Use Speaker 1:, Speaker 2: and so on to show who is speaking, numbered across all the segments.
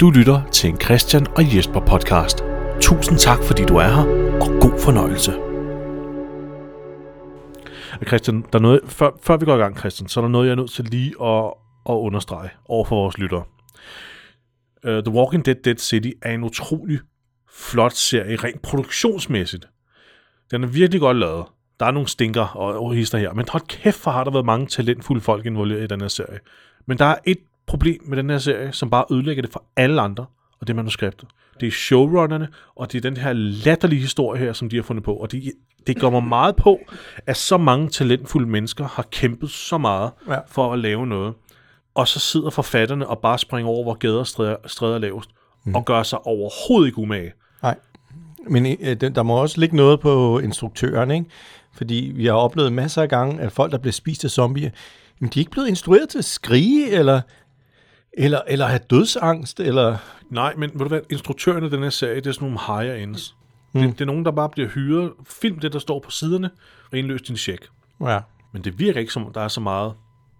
Speaker 1: Du lytter til en Christian og Jesper podcast. Tusind tak, fordi du er her, og god fornøjelse. Christian, der er noget, før, før vi går i gang, Christian, så er der noget, jeg er nødt til lige at, at understrege over for vores lyttere. Uh, The Walking Dead Dead City er en utrolig flot serie, rent produktionsmæssigt. Den er virkelig godt lavet. Der er nogle stinker og og hister her, men hold kæft, for har der været mange talentfulde folk involveret i den her serie. Men der er et problem med den her serie, som bare ødelægger det for alle andre, og det er manuskriptet. Det er showrunnerne, og det er den her latterlige historie her, som de har fundet på. Og det, det går mig meget på, at så mange talentfulde mennesker har kæmpet så meget
Speaker 2: Ja.
Speaker 1: ja. for at lave noget. Og så sidder forfatterne og bare springer over, hvor gader og stræder, stræder er lavest, mm. og gør sig overhovedet ikke umage.
Speaker 2: Nej. Men øh, den- der må også ligge noget på instruktøren, ikke? Fordi vi har oplevet masser af gange, at folk, der bliver spist af zombier, jamen, de er ikke blevet instrueret til at skrige, eller, eller, eller have dødsangst, eller...
Speaker 1: Nej, men ved du hvad, instruktørerne i den her serie, det er sådan nogle higher ends. Mm. Det, det er nogen, der bare bliver hyret, film det, der står på siderne, og indløs din check.
Speaker 2: Ja,
Speaker 1: Men det virker ikke, som om der er så meget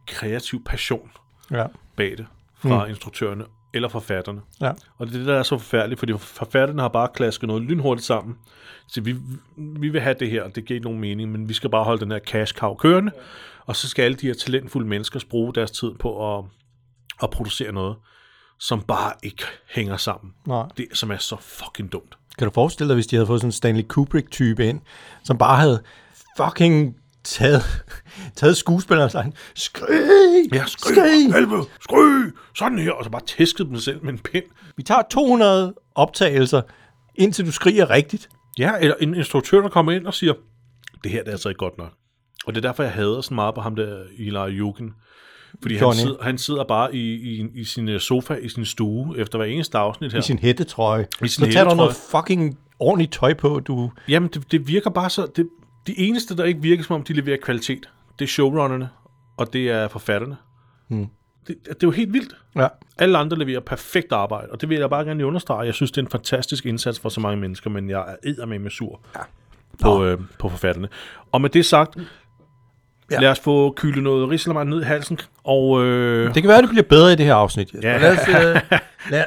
Speaker 1: kreativ passion
Speaker 2: ja,
Speaker 1: bag det fra mm. instruktørerne eller forfatterne.
Speaker 2: ja.
Speaker 1: Og det er det, der er så forfærdeligt, fordi forfatterne har bare klasket noget lynhurtigt sammen. Så vi, vi vil have det her, og det giver ikke nogen mening, men vi skal bare holde den her cash cow kørende, og så skal alle de her talentfulde mennesker bruge deres tid på at, at producere noget, som bare ikke hænger sammen.
Speaker 2: Nej.
Speaker 1: Det, som er så fucking dumt.
Speaker 2: Kan du forestille dig, hvis de havde fået sådan en Stanley Kubrick-type ind, som bare havde fucking taget, taget skuespilleren og sagt, skrig,
Speaker 1: Ja, skrig,
Speaker 2: skrig.
Speaker 1: helvede, skrig, sådan her, og så bare tæskede dem selv med en pind.
Speaker 2: Vi tager 200 optagelser, indtil du skriger rigtigt.
Speaker 1: Ja, eller en instruktør, der kommer ind og siger, det her det er altså ikke godt nok. Og det er derfor, jeg hader sådan meget på ham der, Eli Juken. Fordi han
Speaker 2: Johnny.
Speaker 1: sidder, han sidder bare i, i, i sin øh, sofa, i sin stue, efter hver eneste afsnit her.
Speaker 2: i sin hættetrøje.
Speaker 1: I sin
Speaker 2: så tager du
Speaker 1: hættetrøje.
Speaker 2: noget fucking ordentligt tøj på, du...
Speaker 1: Jamen, det, det virker bare så... Det, de eneste, der ikke virker, som om de leverer kvalitet, det er showrunnerne, og det er forfatterne. Hmm. Det, det er jo helt vildt.
Speaker 2: Ja.
Speaker 1: Alle andre leverer perfekt arbejde, og det vil jeg bare gerne lige understrege. Jeg synes, det er en fantastisk indsats for så mange mennesker, men jeg er med med sur ja. på, øh, på forfatterne. Og med det sagt,
Speaker 2: Ja.
Speaker 1: ja. lad os få kylet noget risalemang ned i halsen, og øh,
Speaker 2: Det kan være, det bliver bedre i det her afsnit. Jesper.
Speaker 1: Ja.
Speaker 2: Lad os, øh, lad...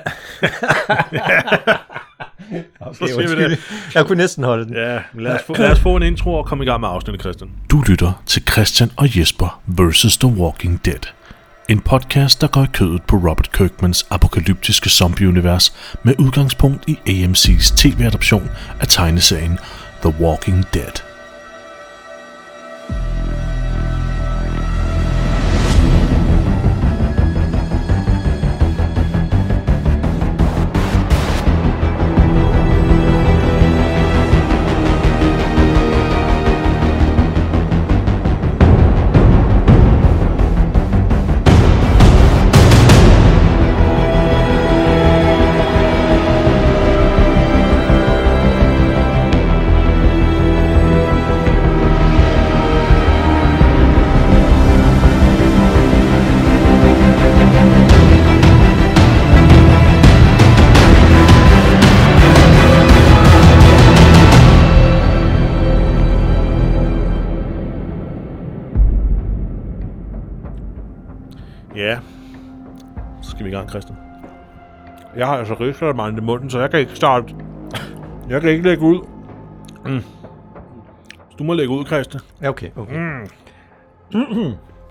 Speaker 1: så siger vi det.
Speaker 2: Jeg kunne næsten holde den.
Speaker 1: Ja, lad os, få, lad os få en intro og komme i gang med afsnittet, Christian.
Speaker 3: Du lytter til Christian og Jesper vs. The Walking Dead. En podcast, der går i kødet på Robert Kirkmans apokalyptiske zombieunivers med udgangspunkt i AMC's tv-adoption af tegneserien The Walking Dead.
Speaker 1: Ja, så skal vi i gang, Christian. Jeg har altså risalemang i munden, så jeg kan ikke starte. Jeg kan ikke lægge ud. Mm. Du må lægge ud, Christian.
Speaker 2: Ja, okay. okay.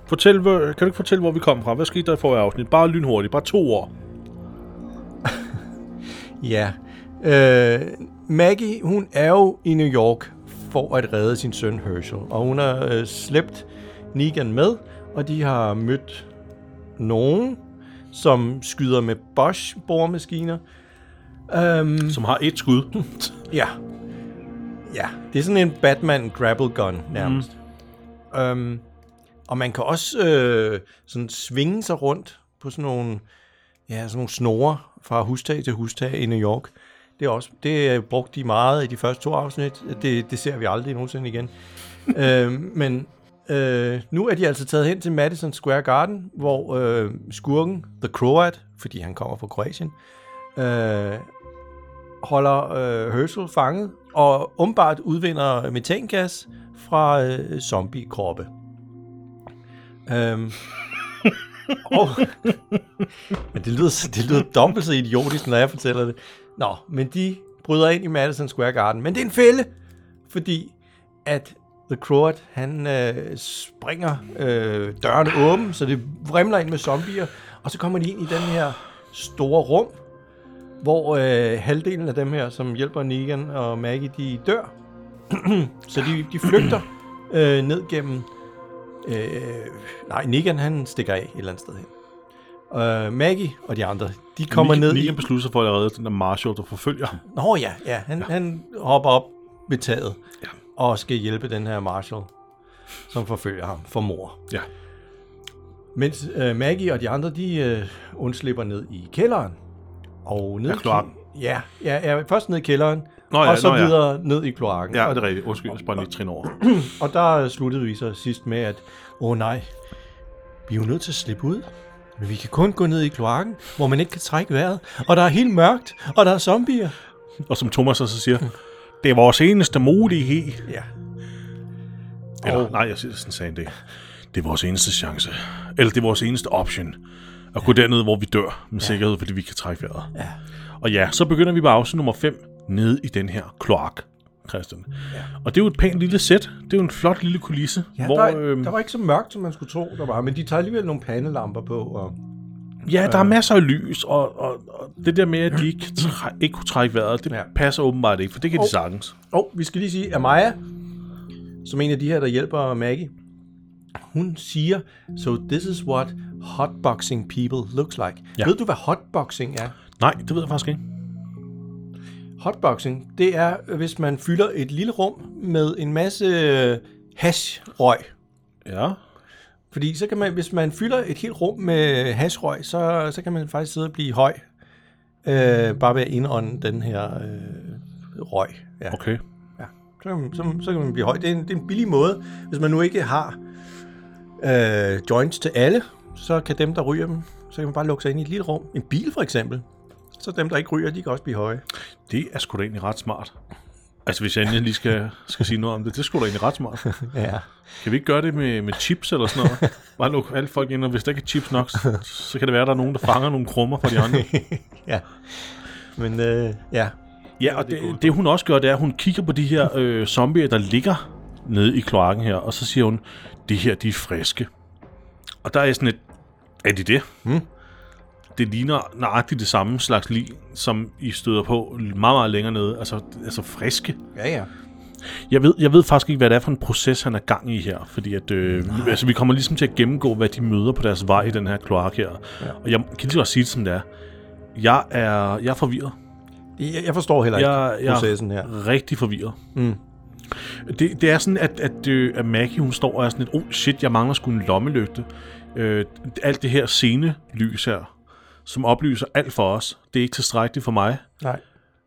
Speaker 1: Fortæl, hvor- kan du ikke fortælle, hvor vi kom fra? Hvad skete der i forrige afsnit? Bare lynhurtigt. Bare to år.
Speaker 2: Mm. Ja. Øh, Maggie, hun er jo i New York for at redde sin søn Herschel, og hun har øh, slæbt Negan med, og de har mødt nogen, som skyder med Bosch-boremaskiner. Øhm,
Speaker 1: Som har et skud.
Speaker 2: Ja. Ja, det er sådan en Batman grapple gun nærmest. Mm. Øhm, og man kan også øh, sådan svinge sig rundt på sådan nogle, ja, sådan nogle snore fra hustag til hustag i New York. Det, er også, det øh, brugte de meget i de første to afsnit. Det, det ser vi aldrig nogensinde igen. øhm, men øh, nu er de altså taget hen til Madison Square Garden, hvor øh, skurken, The Croat, fordi han kommer fra Kroatien, øh, holder øh, Herschel fanget og umiddelbart udvinder metangas fra øh, zombiekroppe. Øhm, Oh. men det lyder, det lyder dobbelt så idiotisk, når jeg fortæller det. Nå, men de bryder ind i Madison Square Garden. Men det er en fælde, fordi at The Croat, han øh, springer øh, døren åben, så det vrimler ind med zombier. Og så kommer de ind i den her store rum, hvor øh, halvdelen af dem her, som hjælper Negan og Maggie, de dør. så de, de flygter øh, ned gennem... Øh, nej, Negan han stikker af et eller andet sted hen. Øh, Maggie og de andre, de kommer
Speaker 1: Negan,
Speaker 2: ned i...
Speaker 1: Negan beslutter sig for at redde den der Marshall, der forfølger ham.
Speaker 2: Nå ja, ja, han, ja. han hopper op ved taget ja. og skal hjælpe den her Marshall, som forfølger ham for mor.
Speaker 1: Ja.
Speaker 2: Mens øh, Maggie og de andre, de øh, undslipper ned i kælderen. Og ned
Speaker 1: Ja, kloakken.
Speaker 2: i- Ja, ja, ja, først ned i kælderen,
Speaker 1: Nå ja,
Speaker 2: og så
Speaker 1: nå ja.
Speaker 2: videre ned i kloakken.
Speaker 1: Ja,
Speaker 2: og,
Speaker 1: det er rigtigt. Undskyld, jeg sprang lige et trin over.
Speaker 2: og der sluttede vi så sidst med, at åh nej, vi er jo nødt til at slippe ud. Men vi kan kun gå ned i kloakken, hvor man ikke kan trække vejret. Og der er helt mørkt, og der er zombier.
Speaker 1: Og som Thomas så siger, det er vores eneste mulighed.
Speaker 2: Ja,
Speaker 1: Eller, oh. nej, jeg siger sådan sagde han det. Det er vores eneste chance. Eller det er vores eneste option. At gå derned, hvor vi dør med ja. sikkerhed, fordi vi kan trække vejret.
Speaker 2: ja.
Speaker 1: Og ja, så begynder vi på afsnit nummer 5 nede i den her kloak, Christian. Ja. Og det er jo et pænt lille sæt. Det er jo en flot lille kulisse,
Speaker 2: Ja,
Speaker 1: hvor...
Speaker 2: Hvor, der,
Speaker 1: øhm,
Speaker 2: der var ikke så mørkt, som man skulle tro, der var, men de tager alligevel nogle pandelamper på. Og,
Speaker 1: Ja, der er masser af lys, og, og, og det der med, at de ikke, træ, ikke kunne trække vejret, det
Speaker 2: Ja.
Speaker 1: ja. passer åbenbart ikke, for det kan oh.
Speaker 2: Og-
Speaker 1: de sagtens.
Speaker 2: og vi skal lige sige, at Maja, som en af de her, der hjælper Maggie, hun siger, so this is what hotboxing people looks like. Ja.
Speaker 1: Ja.
Speaker 2: Ved du, hvad hotboxing er?
Speaker 1: Nej, det ved jeg faktisk ikke.
Speaker 2: Hotboxing, det er, øh, hvis man fylder et lille rum med en masse øh, hashrøg.
Speaker 1: Ja.
Speaker 2: Fordi så kan man, hvis man fylder et helt rum med hashrøg, så, så kan man faktisk sidde og blive høj. Øh, bare ved at indånde den her øh, røg. Ja.
Speaker 1: Okay.
Speaker 2: Ja, så kan man, så, så kan man blive høj. Det er, en, det er en billig måde. Hvis man nu ikke har øh, joints til alle, så kan dem, der ryger dem, så kan man bare lukke sig ind i et lille rum. En bil for eksempel. Så dem, der ikke ryger, de kan også blive høje.
Speaker 1: Det er sgu da egentlig ret smart. Altså, hvis jeg endelig lige skal, skal sige noget om det, det er sgu da egentlig ret smart.
Speaker 2: Ja.
Speaker 1: Kan vi ikke gøre det med, med chips eller sådan noget? Bare lukke alle folk ind, og hvis der ikke er chips nok, så, så kan det være, at der er nogen, der fanger nogle krummer fra de andre.
Speaker 2: ja. Men øh, ja.
Speaker 1: Ja, og det, det hun også gør, det er, at hun kigger på de her øh, zombier, der ligger nede i kloakken her, og så siger hun, de her, de er friske. Og der er jeg sådan et, er de det?
Speaker 2: Hmm.
Speaker 1: Det ligner nøjagtigt det samme slags lig, som I støder på meget, meget længere nede, altså, altså friske.
Speaker 2: Ja, ja.
Speaker 1: Jeg ved, jeg ved faktisk ikke, hvad det er for en proces, han er gang i her, fordi at, øh, vi- altså, vi kommer ligesom til at gennemgå, hvad de møder på deres vej i den her kloak her. Ja. Og jeg kan lige så godt sige det, som det er. Jeg er, jeg er forvirret.
Speaker 2: Jeg, jeg forstår heller ikke
Speaker 1: Jeg, jeg
Speaker 2: processen her.
Speaker 1: er rigtig forvirret. Mm. Det, det er sådan, at, at, øh, at Maggie, hun står og er sådan lidt, oh shit, jeg mangler sgu en lommelygte. Øh, alt det her scenelys her, som oplyser alt for os, det er ikke tilstrækkeligt for mig
Speaker 2: Nej.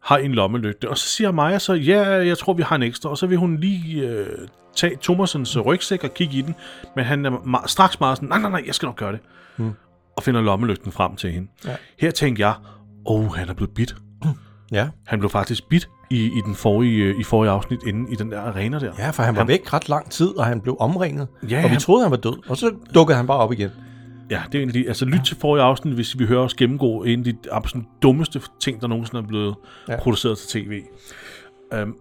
Speaker 1: har en lommelygte. Og så siger Maja så, ja, jeg tror, vi har en ekstra. Og så vil hun lige øh, tage Thomasens rygsæk og kigge i den. Men han er ma- straks meget sådan, nej, nej, nej, jeg skal nok gøre det. Mm. Og finder lommelygten frem til hende.
Speaker 2: Ja.
Speaker 1: Her tænker jeg, åh, oh, han er blevet bidt.
Speaker 2: Ja.
Speaker 1: Han blev faktisk bidt i, i den forrige, øh, i forrige afsnit inde i den der arena der.
Speaker 2: ja, for han var væk ret lang tid, og han blev omringet.
Speaker 1: Ja,
Speaker 2: og vi
Speaker 1: han-
Speaker 2: troede, han var død. Og så dukkede han bare op igen.
Speaker 1: ja det er egentlig, altså lyt til forrige afsnit, hvis vi hører os gennemgå en af de absolut dummeste ting, der nogensinde er blevet
Speaker 2: Ja.
Speaker 1: ja. produceret til tv. Um,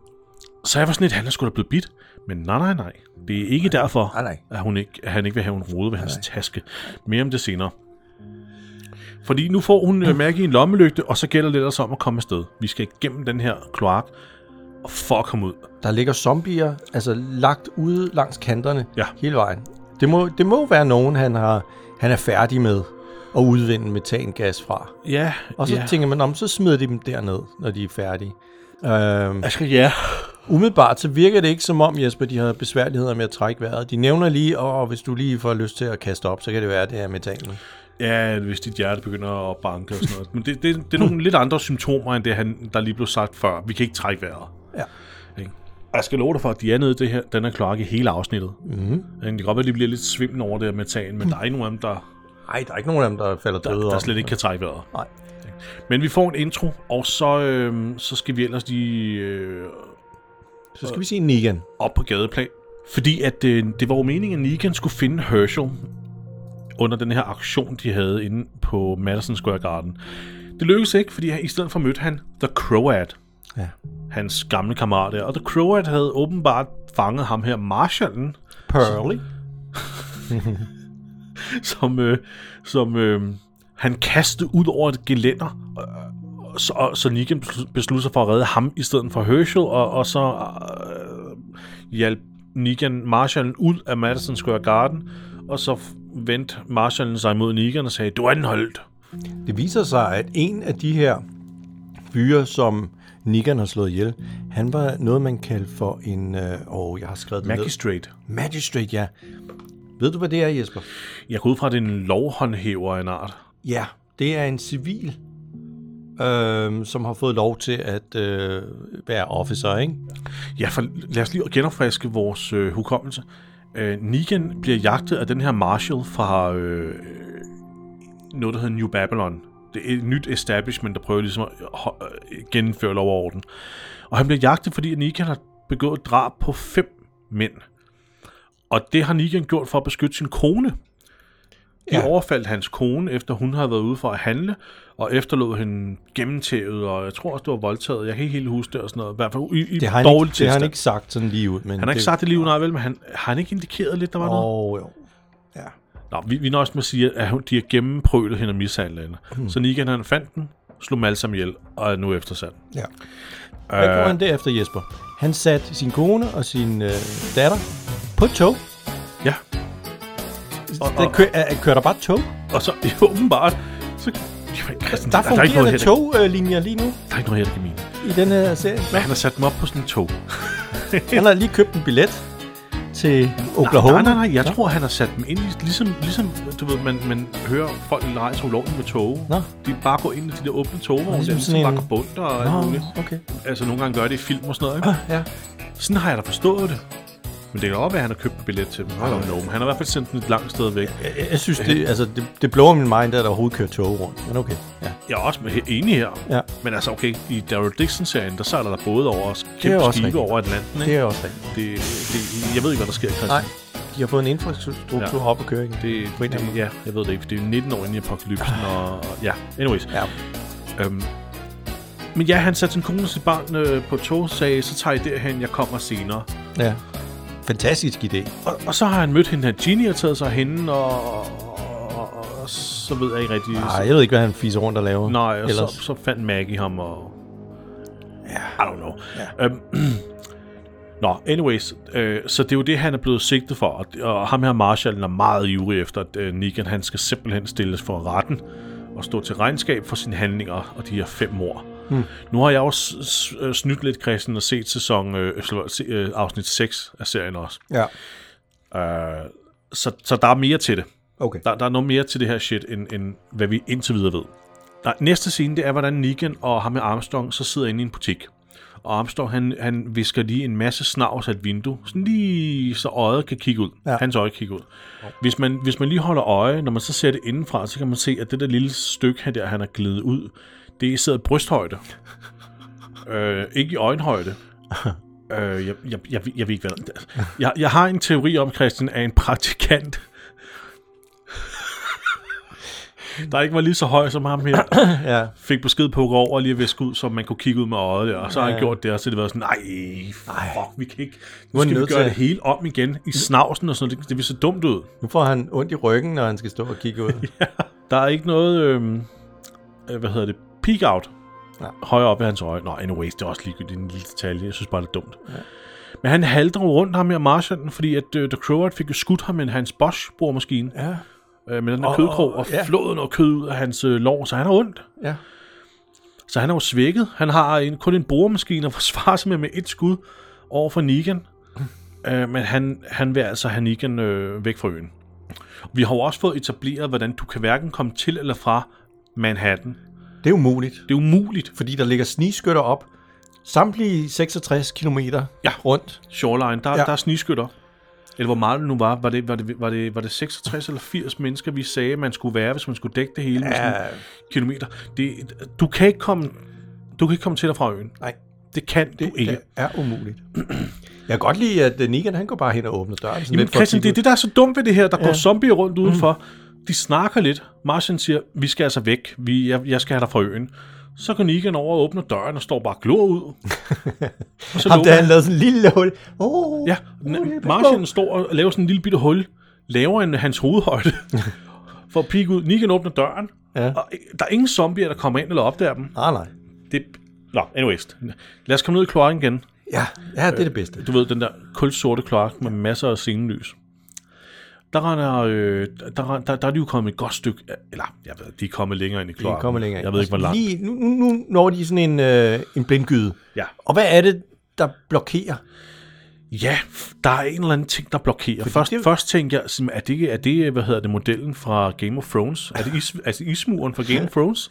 Speaker 1: så jeg var sådan lidt, han er sgu da blevet bidt. Men nej, nej, nej. Det er ikke derfor,
Speaker 2: Nej, nej.
Speaker 1: At, hun ikke, at han ikke vil have en rode ved hans taske. Mere om det senere. Fordi nu får hun øh, mærke i en lommelygte, og så gælder det ellers om at komme afsted. Vi skal igennem den her kloak og for at komme ud.
Speaker 2: Der ligger zombier, altså lagt ude langs kanterne
Speaker 1: Ja.
Speaker 2: hele vejen. Det må, det må være nogen, han, har, han er færdig med at udvinde metangas fra.
Speaker 1: Ja,
Speaker 2: Og så
Speaker 1: ja.
Speaker 2: tænker man, om så smider de dem derned, når de er færdige. Øhm,
Speaker 1: jeg skal, Altså, ja.
Speaker 2: umiddelbart så virker det ikke som om, Jesper, de har besværligheder med at trække vejret. De nævner lige, og hvis du lige får lyst til at kaste op, så kan det være, at det er metanen.
Speaker 1: Ja, hvis dit hjerte begynder at banke og sådan noget. Men det, det, det er nogle lidt andre symptomer, end det, han, der lige blev sagt før. Vi kan ikke trække vejret.
Speaker 2: Ja.
Speaker 1: Ikke? Og jeg skal love dig for, at de er nede i det her, den her kloakke hele afsnittet. Mm-hmm. Det kan godt være, at de bliver lidt svimlende over det her metan, men der er ikke nogen af dem, der,
Speaker 2: Nej, der er ikke nogen af dem, der falder døde
Speaker 1: der
Speaker 2: om.
Speaker 1: slet ikke kan trække vejret.
Speaker 2: Nej.
Speaker 1: Men vi får en intro, og så, øh, så skal vi ellers lige øh,
Speaker 2: Så skal vi sige Negan.
Speaker 1: op på gadeplan. Fordi at, øh, det var jo meningen, at Negan skulle finde Herschel. under den her aktion, de havde inde på Madison Square Garden. Det lykkedes ikke, fordi han, i stedet for mødte han The Croat,
Speaker 2: Ja.
Speaker 1: hans gamle kammerat der. Og The Croat havde åbenbart fanget ham her, Marshallen,
Speaker 2: Pearly.
Speaker 1: som, øh, som øh, han kastede ud over et gelænder. Og, og, så, og, så Negan beslu- besluttede sig for at redde ham i stedet for Herschel, og, og så øh, hjalp Negan Marshallen ud af Madison Square Garden, og så f- vendte Marshallen sig mod Negan og sagde, du er anholdt.
Speaker 2: Det viser sig, at en af de her fyre, som Nikan har slået ihjel, han var noget, man kaldte for en... Øh, åh, jeg har skrevet det ned.
Speaker 1: Magistrate.
Speaker 2: Magistrate, ja. Ved du, hvad det er, Jesper?
Speaker 1: Jeg går ud fra, at det er en lovhåndhæver af en art.
Speaker 2: Ja, det er en civil, øh, som har fået lov til at øh, være officer, ikke?
Speaker 1: Ja, for lad os lige genopfriske vores øh, hukommelse. Øh, Negan bliver jagtet af den her Marshall fra øh, noget, der hedder New Babylon. Det er et nyt establishment, der prøver ligesom at ho- øh, gennemføre lov og orden. Og han bliver jagtet, fordi Negan har begået drab på fem mænd. Og det har Negan gjort for at beskytte sin kone. De ja.
Speaker 2: Ja.
Speaker 1: overfaldt hans kone, efter hun havde været ude for at handle, og efterlod hende gennemtævet, og jeg tror også, det var voldtaget. Jeg kan ikke helt huske det og sådan noget. I hvert fald i, i
Speaker 2: Det har, han
Speaker 1: dårlig
Speaker 2: ikke, det har han
Speaker 1: tilstand.
Speaker 2: ikke sagt sådan lige ud. Men
Speaker 1: Han har ikke
Speaker 2: det,
Speaker 1: sagt det lige ud, nej vel, men han, har han ikke indikeret lidt, der var oh. noget?
Speaker 2: Åh, jo. Ja.
Speaker 1: Nå, vi, vi nøjes med at sige, at hun- de har gennemprøvet hende og mishandlet hende. Hmm. Så Negan han fandt den, slog dem alle sammen ihjel, og er nu eftersat.
Speaker 2: Ja. Øh. Hvad gjorde han derefter, Jesper? Han satte sin kone og sin øh, datter på et tog.
Speaker 1: Ja,
Speaker 2: Og, og, kø, øh, kører der bare tog?
Speaker 1: og så ja, åbenbart, så... Jamen, Christian,
Speaker 2: Der
Speaker 1: er ikke
Speaker 2: fungerer
Speaker 1: noget
Speaker 2: der
Speaker 1: her, der,
Speaker 2: toglinjer lige nu
Speaker 1: der er ikke noget her, der kan mene.
Speaker 2: i den her serie.
Speaker 1: Han har sat dem op på sådan en tog.
Speaker 2: Han har lige købt en billet til Oklahoma.
Speaker 1: Nej, nej, nej, jeg tror, han har sat dem ind i, ligesom, ligesom du ved, man, man hører folk rejse ulovligt med tog.
Speaker 2: Nå.
Speaker 1: De bare går ind i de der åbne togvogne, der
Speaker 2: ligesom
Speaker 1: ligesom
Speaker 2: sådan en-
Speaker 1: bare bunter og alt muligt.
Speaker 2: Nå, okay.
Speaker 1: Altså, nogle gange gør det i film og sådan noget, ikke?
Speaker 2: Ja.
Speaker 1: Sådan har jeg da forstået det. Men det kan godt være, at han har købt en billet til dem. I don't know. men Han har i hvert fald sendt den et langt sted væk.
Speaker 2: Jeg, jeg synes, det, altså, det, det blower min mind, at der overhovedet kører tog rundt. Men okay. Ja.
Speaker 1: Jeg er også med- enig her.
Speaker 2: Ja.
Speaker 1: Men altså, okay, i Daryl Dixon-serien, der sejler der både over os
Speaker 2: er
Speaker 1: kæmpe
Speaker 2: også
Speaker 1: skibe
Speaker 2: rigtigt.
Speaker 1: over Atlanten.
Speaker 2: Det
Speaker 1: Ikke?
Speaker 2: er også rigtigt.
Speaker 1: Det, det, jeg ved ikke, hvad der sker, Christian.
Speaker 2: Nej, de har fået en infrastruktur
Speaker 1: Ja.
Speaker 2: op at køre igen.
Speaker 1: Det,
Speaker 2: På en eller anden
Speaker 1: det,
Speaker 2: måde.
Speaker 1: ja, jeg ved det ikke, for det er jo 19 år inden i apokalypsen, og, og ja, anyways.
Speaker 2: Ja.
Speaker 1: Øhm, men ja, han satte sin kone og sit barn øh, på et tog og sagde, så tager I derhen, jeg kommer senere.
Speaker 2: ja. Fantastisk idé.
Speaker 1: Og, og så har han mødt hende her, Ginny, og taget sig af hende, og, og, og, og så ved jeg ikke rigtig...
Speaker 2: Nej, jeg ved ikke, hvad han fiser rundt og laver.
Speaker 1: Nej, og så,
Speaker 2: Ellers.
Speaker 1: så fandt Maggie ham, og... Ja, I don't know. Ja. Øhm, Nå, anyways, øh, så det er jo det, han er blevet sigtet for, og, og ham her Marshallen er meget ivrig efter, at øh, Negan, han skal simpelthen stilles for retten og stå til regnskab for sine handlinger og de her fem mord. Hmm. Nu har jeg også s- s- øh, snydt lidt, Christian, og set sæson, øh, øh, se- øh, afsnit 6 af serien også.
Speaker 2: Ja,
Speaker 1: Øh, så, så der er mere til det.
Speaker 2: okay.
Speaker 1: Der, der er noget mere til det her shit, end, end hvad vi indtil videre ved. Der, næste scene, det er, hvordan Negan og ham med Armstrong så sidder inde i en butik. Og Armstrong, han, han visker lige en masse snavs af et vindue, sådan lige så øjet kan kigge ud. Ja.
Speaker 2: Ja.
Speaker 1: Hans øje kan kigge ud. Hvis man, hvis man lige holder øje, når man så ser det indenfra, så kan man se, at det der lille stykke her, der han har glidet ud, det er sidder i brysthøjde. øh, ikke i øjenhøjde. øh, jeg, jeg, jeg, jeg, ved- jeg ved ikke, hvad der jeg, jeg har en teori om, Christian, at en praktikant der ikke var lige så høj som ham her,
Speaker 2: Ja.
Speaker 1: fik besked på at gå over og lige at viske ud, så man kunne kigge ud med øjet der. Og så har han gjort det, og så har det været sådan, nej, fuck, vi kan ikke. Nu
Speaker 2: er
Speaker 1: skal vi
Speaker 2: nødt
Speaker 1: gøre
Speaker 2: til
Speaker 1: det
Speaker 2: at- Mm.
Speaker 1: hele om igen i snavsen og sådan noget. Det, det vil se dumt ud.
Speaker 2: Nu får han ondt i ryggen, når han skal stå og kigge ud.
Speaker 1: Der er ikke noget, øhm, øh, hvad hedder det, peak out
Speaker 2: Nej.
Speaker 1: højere op i hans øje. Nå, anyways, det er også ligegyldigt det er en lille detalje. Jeg synes bare, det er dumt. Ja. Men han halter rundt ham her, Marshallen, fordi at øh, The Croat fik jo skudt ham med hans Bosch-boremaskine.
Speaker 2: ja,
Speaker 1: Øh, med den der
Speaker 2: Og-
Speaker 1: kødkrog og
Speaker 2: ja.
Speaker 1: flået noget kød ud af hans øh, lår, så han har ondt.
Speaker 2: ja.
Speaker 1: Så han er jo svækket. Han har en, kun en boremaskine at forsvare sig med med et skud over for Negan. øh, men han, han vil altså have Negan øh, væk fra øen. Vi har jo også fået etableret, hvordan du kan hverken komme til eller fra Manhattan.
Speaker 2: Det er umuligt,
Speaker 1: Det er umuligt.
Speaker 2: fordi der ligger snigskytter op samtlige 66 km
Speaker 1: Ja.
Speaker 2: rundt.
Speaker 1: Shoreline, der, ja.
Speaker 2: Ja.
Speaker 1: der er snigskytter. Eller hvor meget det nu var. Var det, var, det, var, det, var det 66 eller 80 mennesker, vi sagde, man skulle være, hvis man skulle dække det hele ja. med sådan en kilometer? Det, du, kan ikke komme, du kan ikke komme til og fra øen.
Speaker 2: Nej,
Speaker 1: Det kan det, du ikke.
Speaker 2: det er umuligt. Jeg kan godt lide, at øh, Negan han går bare hen og åbner døren. Sådan
Speaker 1: Jamen
Speaker 2: lidt for at
Speaker 1: Christian, det
Speaker 2: kigge Mm.
Speaker 1: er det, der er så dumt ved det her. Der ja. går zombier rundt udenfor. de snakker lidt. Martian siger, vi skal altså væk. Vi, jeg, jeg skal have dig fra øen. Så går Negan over og åbner døren og står bare og glor ud. og så
Speaker 2: Ham,
Speaker 1: lukker
Speaker 2: der han
Speaker 1: han.
Speaker 2: lavede sådan en lille hul. Oh,
Speaker 1: Ja,
Speaker 2: oh, det er
Speaker 1: na-
Speaker 2: pas
Speaker 1: Martian
Speaker 2: på.
Speaker 1: står og laver sådan en lille bitte hul, laver en hans hovedhøjde for at pikke ud. Negan åbner døren,
Speaker 2: Ja.
Speaker 1: og der er ingen zombier, der kommer ind eller opdager dem.
Speaker 2: Ah, nej.
Speaker 1: Det, nå, anyways. Lad os komme ned i kloakken igen.
Speaker 2: Ja, ja, det er det bedste.
Speaker 1: Du ved, den der kulsorte kloak med masser af scenelys. Der, render, øh, der, ren- der, der er de jo kommet et godt stykke, eller jeg ved, de er kommet længere ind Altså, i kloakken.
Speaker 2: Vi kommer længere ind.
Speaker 1: Jeg ved ikke, hvor langt.
Speaker 2: Lige, nu, nu, nu når de sådan en, øh, en blindgyde.
Speaker 1: Ja.
Speaker 2: Og hvad er det, der blokerer?
Speaker 1: Ja, f- der er en eller anden ting, der blokerer. Først, det...
Speaker 2: det-
Speaker 1: først tænkte jeg, sådan, er det, er det, hvad hedder det, modellen fra Game of Thrones? Er det is, altså ismuren fra Game of Thrones?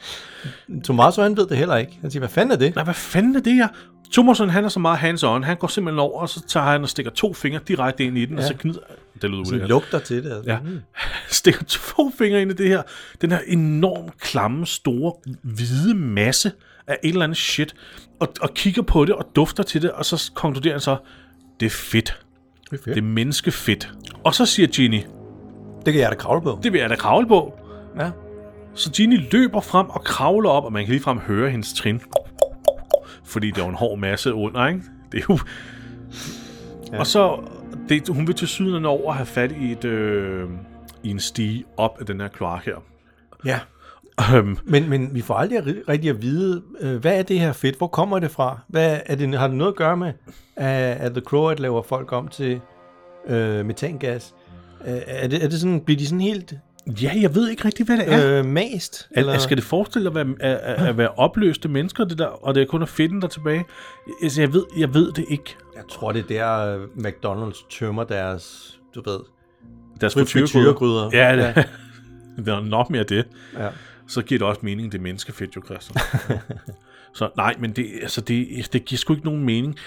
Speaker 2: Tommaso, han ved det heller ikke. Han siger, hvad fanden er det?
Speaker 1: Nej, hvad fanden er det her? Thomasen, han er så meget hands-on. Han går simpelthen over, og så tager han og stikker to fingre direkte ind i den, ja. og så knider... Det lyder
Speaker 2: Det
Speaker 1: ulækkert.
Speaker 2: lugter til det. Altså.
Speaker 1: Ja. Mm. Stikker to fingre ind i det her. Den her enormt klamme, store, hvide masse af et eller andet shit. Og, og kigger på det og dufter til det, og så konkluderer han så, det er fedt.
Speaker 2: Det, er
Speaker 1: Det er
Speaker 2: fedt.
Speaker 1: menneskefedt. Og så siger Ginny,
Speaker 2: det kan jeg da kravle på.
Speaker 1: det vil jeg da kravle på.
Speaker 2: Ja.
Speaker 1: Så Ginny løber frem og kravler op, og man kan ligefrem høre hendes trin. Fordi det er jo en hård masse under, ikke? Det er jo... Ja. Og så... Det, hun vil til syden over at have fat i, et, øh, i en stige op af den her kloak her.
Speaker 2: ja.
Speaker 1: Øhm,
Speaker 2: Men, men vi får aldrig ri- rigtig at vide, øh, hvad er det her fedt? Hvor kommer det fra? Hvad er det, har det noget at gøre med, at, at The Crow at laver folk om til øh, metangas? Øh, er, det, er det sådan, bliver de sådan helt
Speaker 1: ja, jeg ved ikke rigtig, hvad det er. Øh,
Speaker 2: øh, mast?
Speaker 1: eller... Skal det forestille at være, at, at, at være opløste mennesker, det der, og det er kun at finde der er tilbage? Altså, jeg ved, jeg ved det ikke.
Speaker 2: Jeg tror, det er der, øh, McDonald's tømmer deres, du ved,
Speaker 1: Deres
Speaker 2: frituregryder.
Speaker 1: Ja, det, det er nok mere det.
Speaker 2: ja.
Speaker 1: så giver det også mening, det er menneskefedt jo, Christian. så nej, men det, altså, det, det giver sgu ikke nogen mening.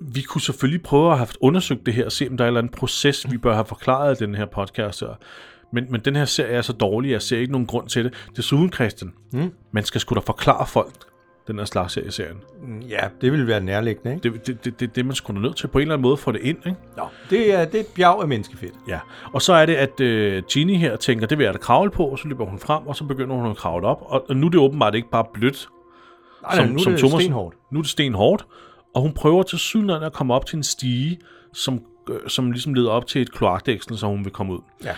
Speaker 1: Vi kunne selvfølgelig prøve at have undersøgt det her, og se om der er en eller anden proces, vi bør have forklaret i den her podcast her. Men, men den her serie er så dårlig, jeg ser ikke nogen grund til det. Desuden, Christian, mm. man skal sgu da forklare folk den her slags serie i serien.
Speaker 2: Ja, det ville være nærliggende, ikke?
Speaker 1: Det, det, det, det, det er man sgu da nødt til på en eller anden måde at få det ind, ikke?
Speaker 2: Nå. Det er, det er et bjerg af menneskefedt.
Speaker 1: Ja, og så er det, at øh, Ginny her tænker, det vil jeg da kravle på, og så løber hun frem, og så begynder hun at kravle op. Og, og nu er det åbenbart ikke bare blødt,
Speaker 2: Nej, som, nu er det
Speaker 1: Thomas-
Speaker 2: stenhårdt.
Speaker 1: Nu er det stenhårdt, og hun prøver til synligheden at komme op til en stige, som, øh, som ligesom leder op til et kloakdæksel, så hun vil komme ud.
Speaker 2: Ja.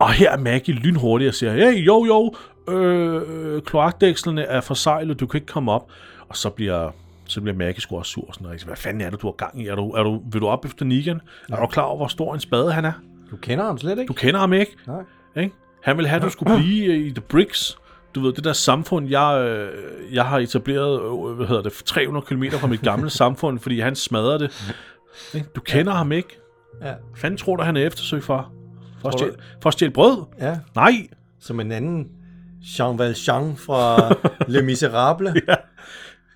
Speaker 1: Og her er Maggie lynhurtig og siger, hey, jo, jo, øh, øh, kloakdækslerne er forsejlet, du kan ikke komme op. Og så bliver så bliver Maggie sgu også sur. og Sådan, og hvad fanden er det, du har gang i? Er du, er du, vil du op efter Negan? Er du klar over, hvor stor en spade han er?
Speaker 2: Du kender ham slet ikke?
Speaker 1: Du kender ham ikke?
Speaker 2: Nej.
Speaker 1: Ikke? Han ville have, at du skulle blive øh, i The Bricks. Du ved, det der samfund, jeg, øh, jeg har etableret, øh, hvad hedder det, 300 km fra mit gamle samfund, fordi han smadrer det. Ikke? Du kender ham ikke.
Speaker 2: Ja.
Speaker 1: Hvad Fanden tror du, han er eftersøgt for? For at,
Speaker 2: Tror du-
Speaker 1: stjæle, for at stjæle brød?
Speaker 2: ja.
Speaker 1: Nej!
Speaker 2: Som en anden Jean Valjean fra Le Miserable.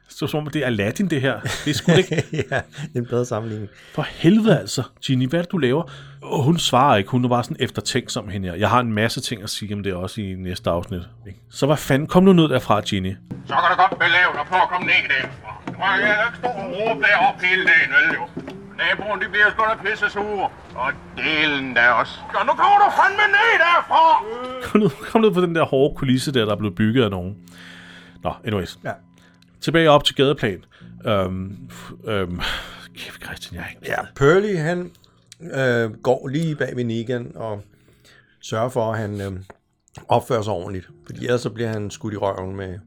Speaker 1: Så som om det er Aladdin, det her. Det er sgu da ikke.
Speaker 2: ja, det er en bedre sammenligning.
Speaker 1: For helvede altså, Ginny, hvad er det, du laver? Og hun svarer ikke, hun er bare sådan eftertænksom hende her. Jeg har en masse ting at sige om det også i næste afsnit. ikke? Så hvad fanden, kom nu ned derfra, Ginny.
Speaker 4: Så kan du godt belave dig for at komme ned derfra. Du kan ikke stå og råbe deroppe hele dagen, vel jo. Naboen, de bliver sgu da pisse sure. Og delen der også. Og nu kommer du fandme ned derfra!
Speaker 1: kom, ned, kom ned på den der hårde kulisse der, der er blevet bygget af nogen. Nå, anyways.
Speaker 2: Ja.
Speaker 1: Tilbage op til gadeplan. Øhm, f- øhm, kæft, Christian, jeg er ikke...
Speaker 2: Ja, Pearly, han øh, går lige bag ved Negan og sørger for, at han øh, opfører sig ordentligt. Fordi ellers så bliver han skudt i røven med,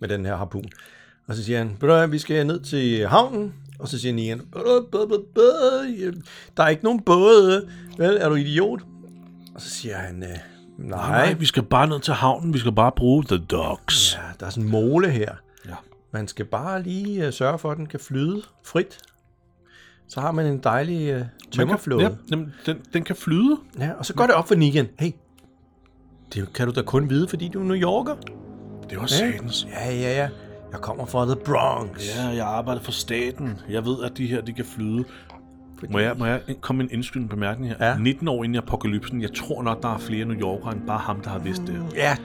Speaker 2: med den her harpun. Og så siger han, "Ved du hvad, vi skal ned til havnen. Og så siger Negan, "Bøh, bøh, bøh, bøh, øh, der er ikke nogen både. Vel, er du idiot? Og så siger han, øh,
Speaker 1: Nej,
Speaker 2: nej,
Speaker 1: vi skal bare ned til havnen, vi skal bare bruge the dogs.
Speaker 2: ja, der er sådan en mole her.
Speaker 1: Ja.
Speaker 2: Man skal bare lige øh, sørge for, at den kan flyde frit. Så har man en dejlig øh, tømmerflåde.
Speaker 1: Ja, den, den, den kan flyde.
Speaker 2: Ja, og så går det op for Negan. Hey, det kan du da kun vide, fordi du er New Yorker.
Speaker 1: Det var satans.
Speaker 2: Ja, ja, ja. Jeg kommer fra The Bronx.
Speaker 1: Ja, jeg arbejder for staten. Jeg ved, at de her, de kan flyde.
Speaker 2: Fordi-
Speaker 1: Må jeg, må jeg komme med en indskydende bemærkning her?
Speaker 2: Ja.
Speaker 1: 19 år inden i apokalypsen, jeg tror nok, der er flere New Yorkere end bare ham, der har vidst det.
Speaker 2: ja,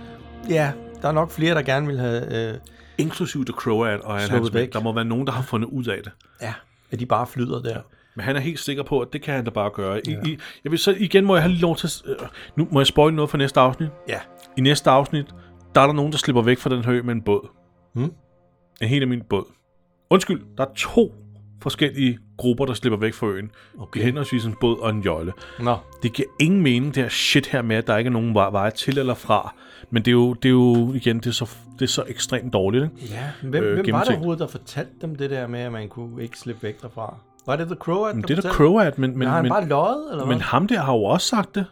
Speaker 2: ja. Der er nok flere, der gerne vil have... Øh,
Speaker 1: Inklusive The Crow og Anne
Speaker 2: Sluppet
Speaker 1: Hans
Speaker 2: væk.
Speaker 1: Der må være nogen, der har fundet ud af det.
Speaker 2: ja, at de bare flyder der.
Speaker 1: Men han er helt sikker på, at det kan han da bare gøre. I, ja. i, jeg vil så igen må jeg have lov til... at- Øh, nu må jeg spoil noget for næste afsnit.
Speaker 2: Ja.
Speaker 1: I næste afsnit, der er der nogen, der slipper væk fra den hø med en båd.
Speaker 2: Hmm.
Speaker 1: En helt almindelig båd. Undskyld, der er to forskellige grupper, der slipper væk fra øen. Okay. Henholdsvis en båd og en jøjle.
Speaker 2: Nå.
Speaker 1: Det giver ingen mening, det her shit her med, at der ikke er nogen vej- veje til eller fra. Men det er jo, det er jo igen, det er så, det er så ekstremt dårligt, ikke?
Speaker 2: Ja, hvem,
Speaker 1: Øh,
Speaker 2: øh, hvem var det
Speaker 1: gennemtænkt.
Speaker 2: overhovedet, der fortalte dem det der med, at man kunne ikke slippe væk derfra? Var det The Crow, at
Speaker 1: Men det er da Croat, men, men,
Speaker 2: Har han
Speaker 1: men,
Speaker 2: bare løjet, eller
Speaker 1: men
Speaker 2: hvad?
Speaker 1: ham der har jo også sagt det.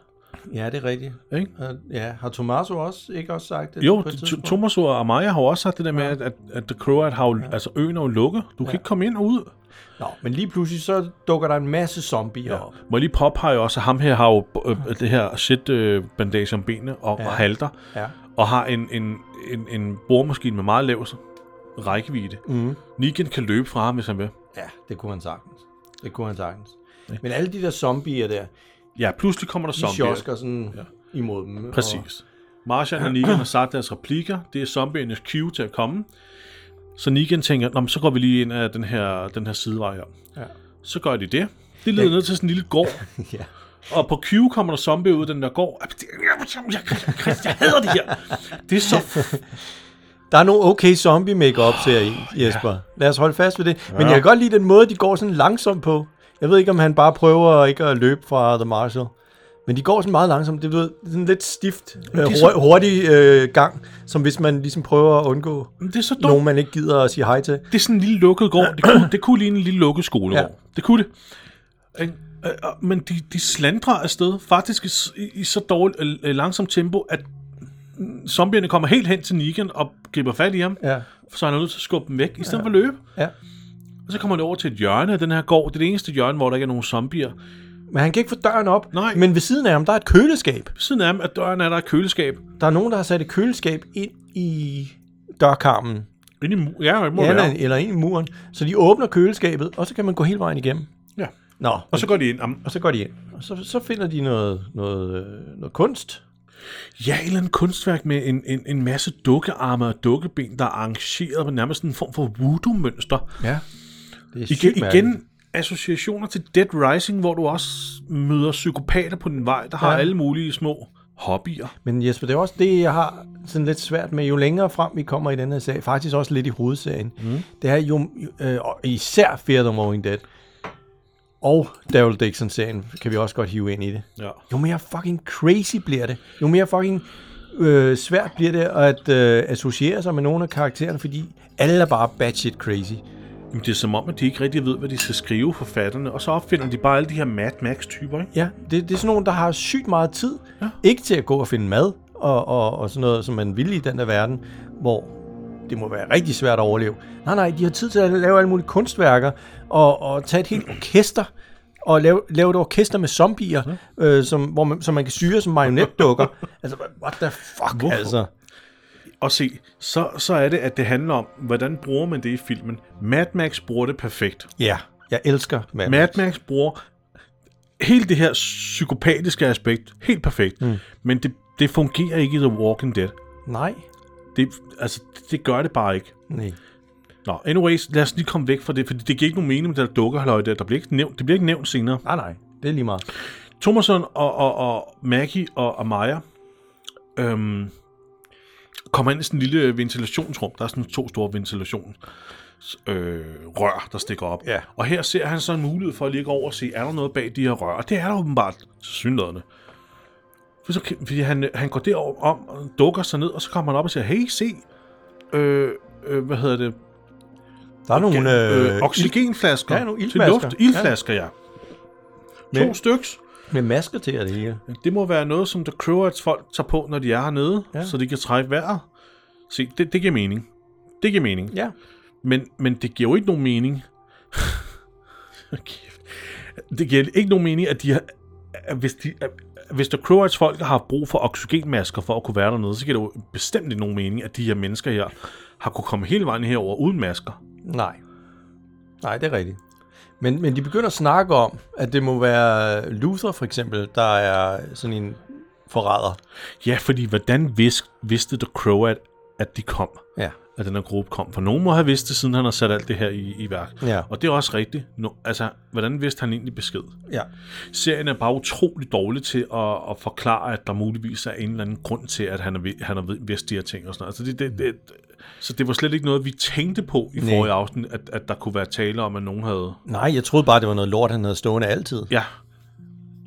Speaker 2: Ja, det er rigtigt.
Speaker 1: Ikke?
Speaker 2: Øh, Ja, har Tomaso også ikke også sagt det?
Speaker 1: Jo,
Speaker 2: på et
Speaker 1: t-
Speaker 2: tidspunkt?
Speaker 1: Thomas og Amaya har jo også sagt det der med, at, at, at The Croat har jo, altså øen er jo lukket. Du kan ikke komme ind og ud.
Speaker 2: Nå, men lige pludselig så dukker der en masse zombier ja. op.
Speaker 1: Må jeg lige påpege også, at ham her har jo øh, det her shit øh, bandage om benene og, ja. og halter.
Speaker 2: Ja.
Speaker 1: Og har en, en, en, en boremaskine med meget lav rækkevidde.
Speaker 2: Mhm.
Speaker 1: Mm. Negan kan løbe fra ham, hvis han vil.
Speaker 2: Ja, det kunne han sagtens. Det kunne han sagtens. Men alle de der zombier der,
Speaker 1: Ja, pludselig kommer der
Speaker 2: de
Speaker 1: zombier.
Speaker 2: sjosker sådan ja. imod dem.
Speaker 1: Præcis. Martian og Negan har sagt deres replikker. Det er zombiernes cue til at komme. Så Negan tænker, Nå, men så går vi lige ind af den her, den her sidevej her.
Speaker 2: Ja.
Speaker 1: Så gør de det. Det leder ned til sådan en lille gård.
Speaker 2: Ja.
Speaker 1: Og på Q kommer der zombie ud af den der gård. Jeg, jeg, jeg, jeg hader det her. Det er så...
Speaker 2: Der er nogle okay zombie makeup ser I, Jesper. Ja. Lad os holde fast ved det. Men jeg kan godt lide den måde, de går sådan langsomt på. Jeg ved ikke, om han bare prøver ikke at løbe fra The Marshal. Men de går sådan meget langsomt. Det er sådan lidt stift, øh,
Speaker 1: er så-
Speaker 2: hur- hurtig øh, gang, som hvis man ligesom prøver at undgå
Speaker 1: Det er så dumt.
Speaker 2: nogen, man ikke gider at sige hej til.
Speaker 1: Det er sådan en lille lukket gård. Det kunne, det kunne ligne en lille lukket skolegård. Ja.
Speaker 2: Ja.
Speaker 1: Det kunne det. Ikke? Øh, og- Men de, de slandrer afsted faktisk i, s- i, i så dårligt øh, øh, langsomt tempo, at mm, zombierne kommer helt hen til Negan og griber fat i ham.
Speaker 2: Ja,
Speaker 1: Så han er nødt til at skubbe dem væk, i stedet ja. for at løbe.
Speaker 2: ja.
Speaker 1: Og så kommer han over til et hjørne af den her gård. Det er det eneste hjørne, hvor der ikke er nogen zombier.
Speaker 2: Men han kan ikke få døren op.
Speaker 1: Nej.
Speaker 2: Men ved siden af ham, der er et køleskab.
Speaker 1: Ved siden af ham, at døren er der et køleskab.
Speaker 2: Der er nogen, der har sat et køleskab ind i dørkarmen.
Speaker 1: Inde i mu- ja, det må
Speaker 2: Ja,
Speaker 1: være.
Speaker 2: eller- eller ind i muren. Så de åbner køleskabet, og så kan man gå hele vejen igennem.
Speaker 1: Ja.
Speaker 2: Nå,
Speaker 1: Og så går de ind. Am,
Speaker 2: Og så går de ind. Og så, så finder de noget, noget, øh, noget kunst.
Speaker 1: ja, et eller andet kunstværk med en, en, en masse dukkearme og dukkeben, der er arrangeret på nærmest en form for voodoo-mønster.
Speaker 2: Ja. Det er
Speaker 1: Igen,
Speaker 2: sygt mærkeligt.
Speaker 1: igen associationer til Dead Rising, hvor du også møder psykopater på din vej, der har
Speaker 2: Ja.
Speaker 1: alle mulige små hobbyer.
Speaker 2: Men Jesper, det er også det, jeg har sådan lidt svært med, jo længere frem vi kommer i den her serie, faktisk også lidt i hovedserien. Mm. Det er jo, øh, og især Fear the Walking Dead, og Daryl Dixon-serien kan vi også godt hive ind i det.
Speaker 1: Ja.
Speaker 2: Jo mere fucking crazy bliver det, jo mere fucking øh, svært bliver det at øh, associere sig med nogle af karaktererne, fordi alle er bare batshit crazy.
Speaker 1: Jamen, det er som om, at de ikke rigtig ved, hvad de skal skrive forfatterne, og så opfinder de bare alle de her Mad Max-typer, ikke?
Speaker 2: Ja, det, det er sådan nogen, der har sygt meget tid. Ja. Ikke til at gå og finde mad og, og, og sådan noget, som man vil i den der verden, hvor det må være rigtig svært at overleve. Nej, nej, de har tid til at lave alle mulige kunstværker og, og tage et helt orkester og lave, lave et orkester med zombier, ja. øh, som, hvor man, som man kan syre som marionetdukker. altså, what the fuck, Hvorfor? altså.
Speaker 1: Og se, så, så er det, at det handler om, hvordan bruger man det i filmen. Mad Max bruger det perfekt.
Speaker 2: Ja, jeg elsker mad.
Speaker 1: Mad Max bruger hele det her psykopatiske aspekt helt perfekt, mm. men det, det fungerer ikke i The Walking Dead.
Speaker 2: Nej.
Speaker 1: Det, altså, det gør det bare ikke.
Speaker 2: Nej.
Speaker 1: Nå, anyways, lad os lige komme væk fra det, for det giver ikke nogen mening med det der dukkehalløj der. Der bliver ikke nævnt, det bliver ikke nævnt senere.
Speaker 2: Nej, nej. Det er lige meget.
Speaker 1: Thomasson og, og, og Maggie og Amaya øhm, kommer ind i sådan en lille ventilationsrum. Der er sådan to store ventilation øh, rør, der stikker op.
Speaker 2: Ja.
Speaker 1: Og her ser han så en mulighed for at lige gå over og se, er der noget bag de her rør? Og det er der åbenbart til synlædende. For så, kan- fordi han, han går derover om, og dukker sig ned, og så kommer han op og siger, hey, se, øh, øh, hvad hedder det,
Speaker 2: Der er nogle...
Speaker 1: øh,
Speaker 2: Øh,
Speaker 1: oxygenflasker
Speaker 2: ja, nogle
Speaker 1: til
Speaker 2: iltmasker.
Speaker 1: luft. Ildflasker, ja. ja. To
Speaker 2: Men-
Speaker 1: styks.
Speaker 2: med masker til og det hele.
Speaker 1: Det må være noget, som The Croats folk tager på, når de er hernede, ja.
Speaker 2: Ja.
Speaker 1: så de kan trække vejret. Se, det, det giver mening. Det giver mening. Ja.
Speaker 2: Ja.
Speaker 1: Men, men det giver jo ikke nogen mening. Kæft. det giver ikke nogen mening, at de har, at hvis, de, at hvis The Croats folk har haft brug for oxygenmasker for at kunne være dernede, så giver det jo bestemt ikke nogen mening, at de her mennesker her har kunne komme hele vejen herover uden masker.
Speaker 2: Nej. Nej, det er rigtigt. Men, men de begynder at snakke om, at det må være Luther for eksempel, der er sådan en forræder.
Speaker 1: Ja, fordi hvordan vis, vidste The Croat, at de kom?
Speaker 2: Ja.
Speaker 1: at den her gruppe kom. For nogen må have vidst det, siden han har sat alt det her i, i værk.
Speaker 2: Ja.
Speaker 1: Og det er også rigtigt. No, altså, hvordan vidste han egentlig besked?
Speaker 2: Ja.
Speaker 1: Serien er bare utrolig dårlig til at, at forklare, at der muligvis er en eller anden grund til, at han, er, ved- han har ved- vidst de her ting og sådan noget. Altså, det, det, det, så det var slet ikke noget, vi tænkte på i
Speaker 2: Nej.
Speaker 1: forrige afsnit, at, at der kunne være tale om, at nogen havde
Speaker 2: Nej, jeg troede bare, det var noget lort, han havde stående altid.
Speaker 1: Ja.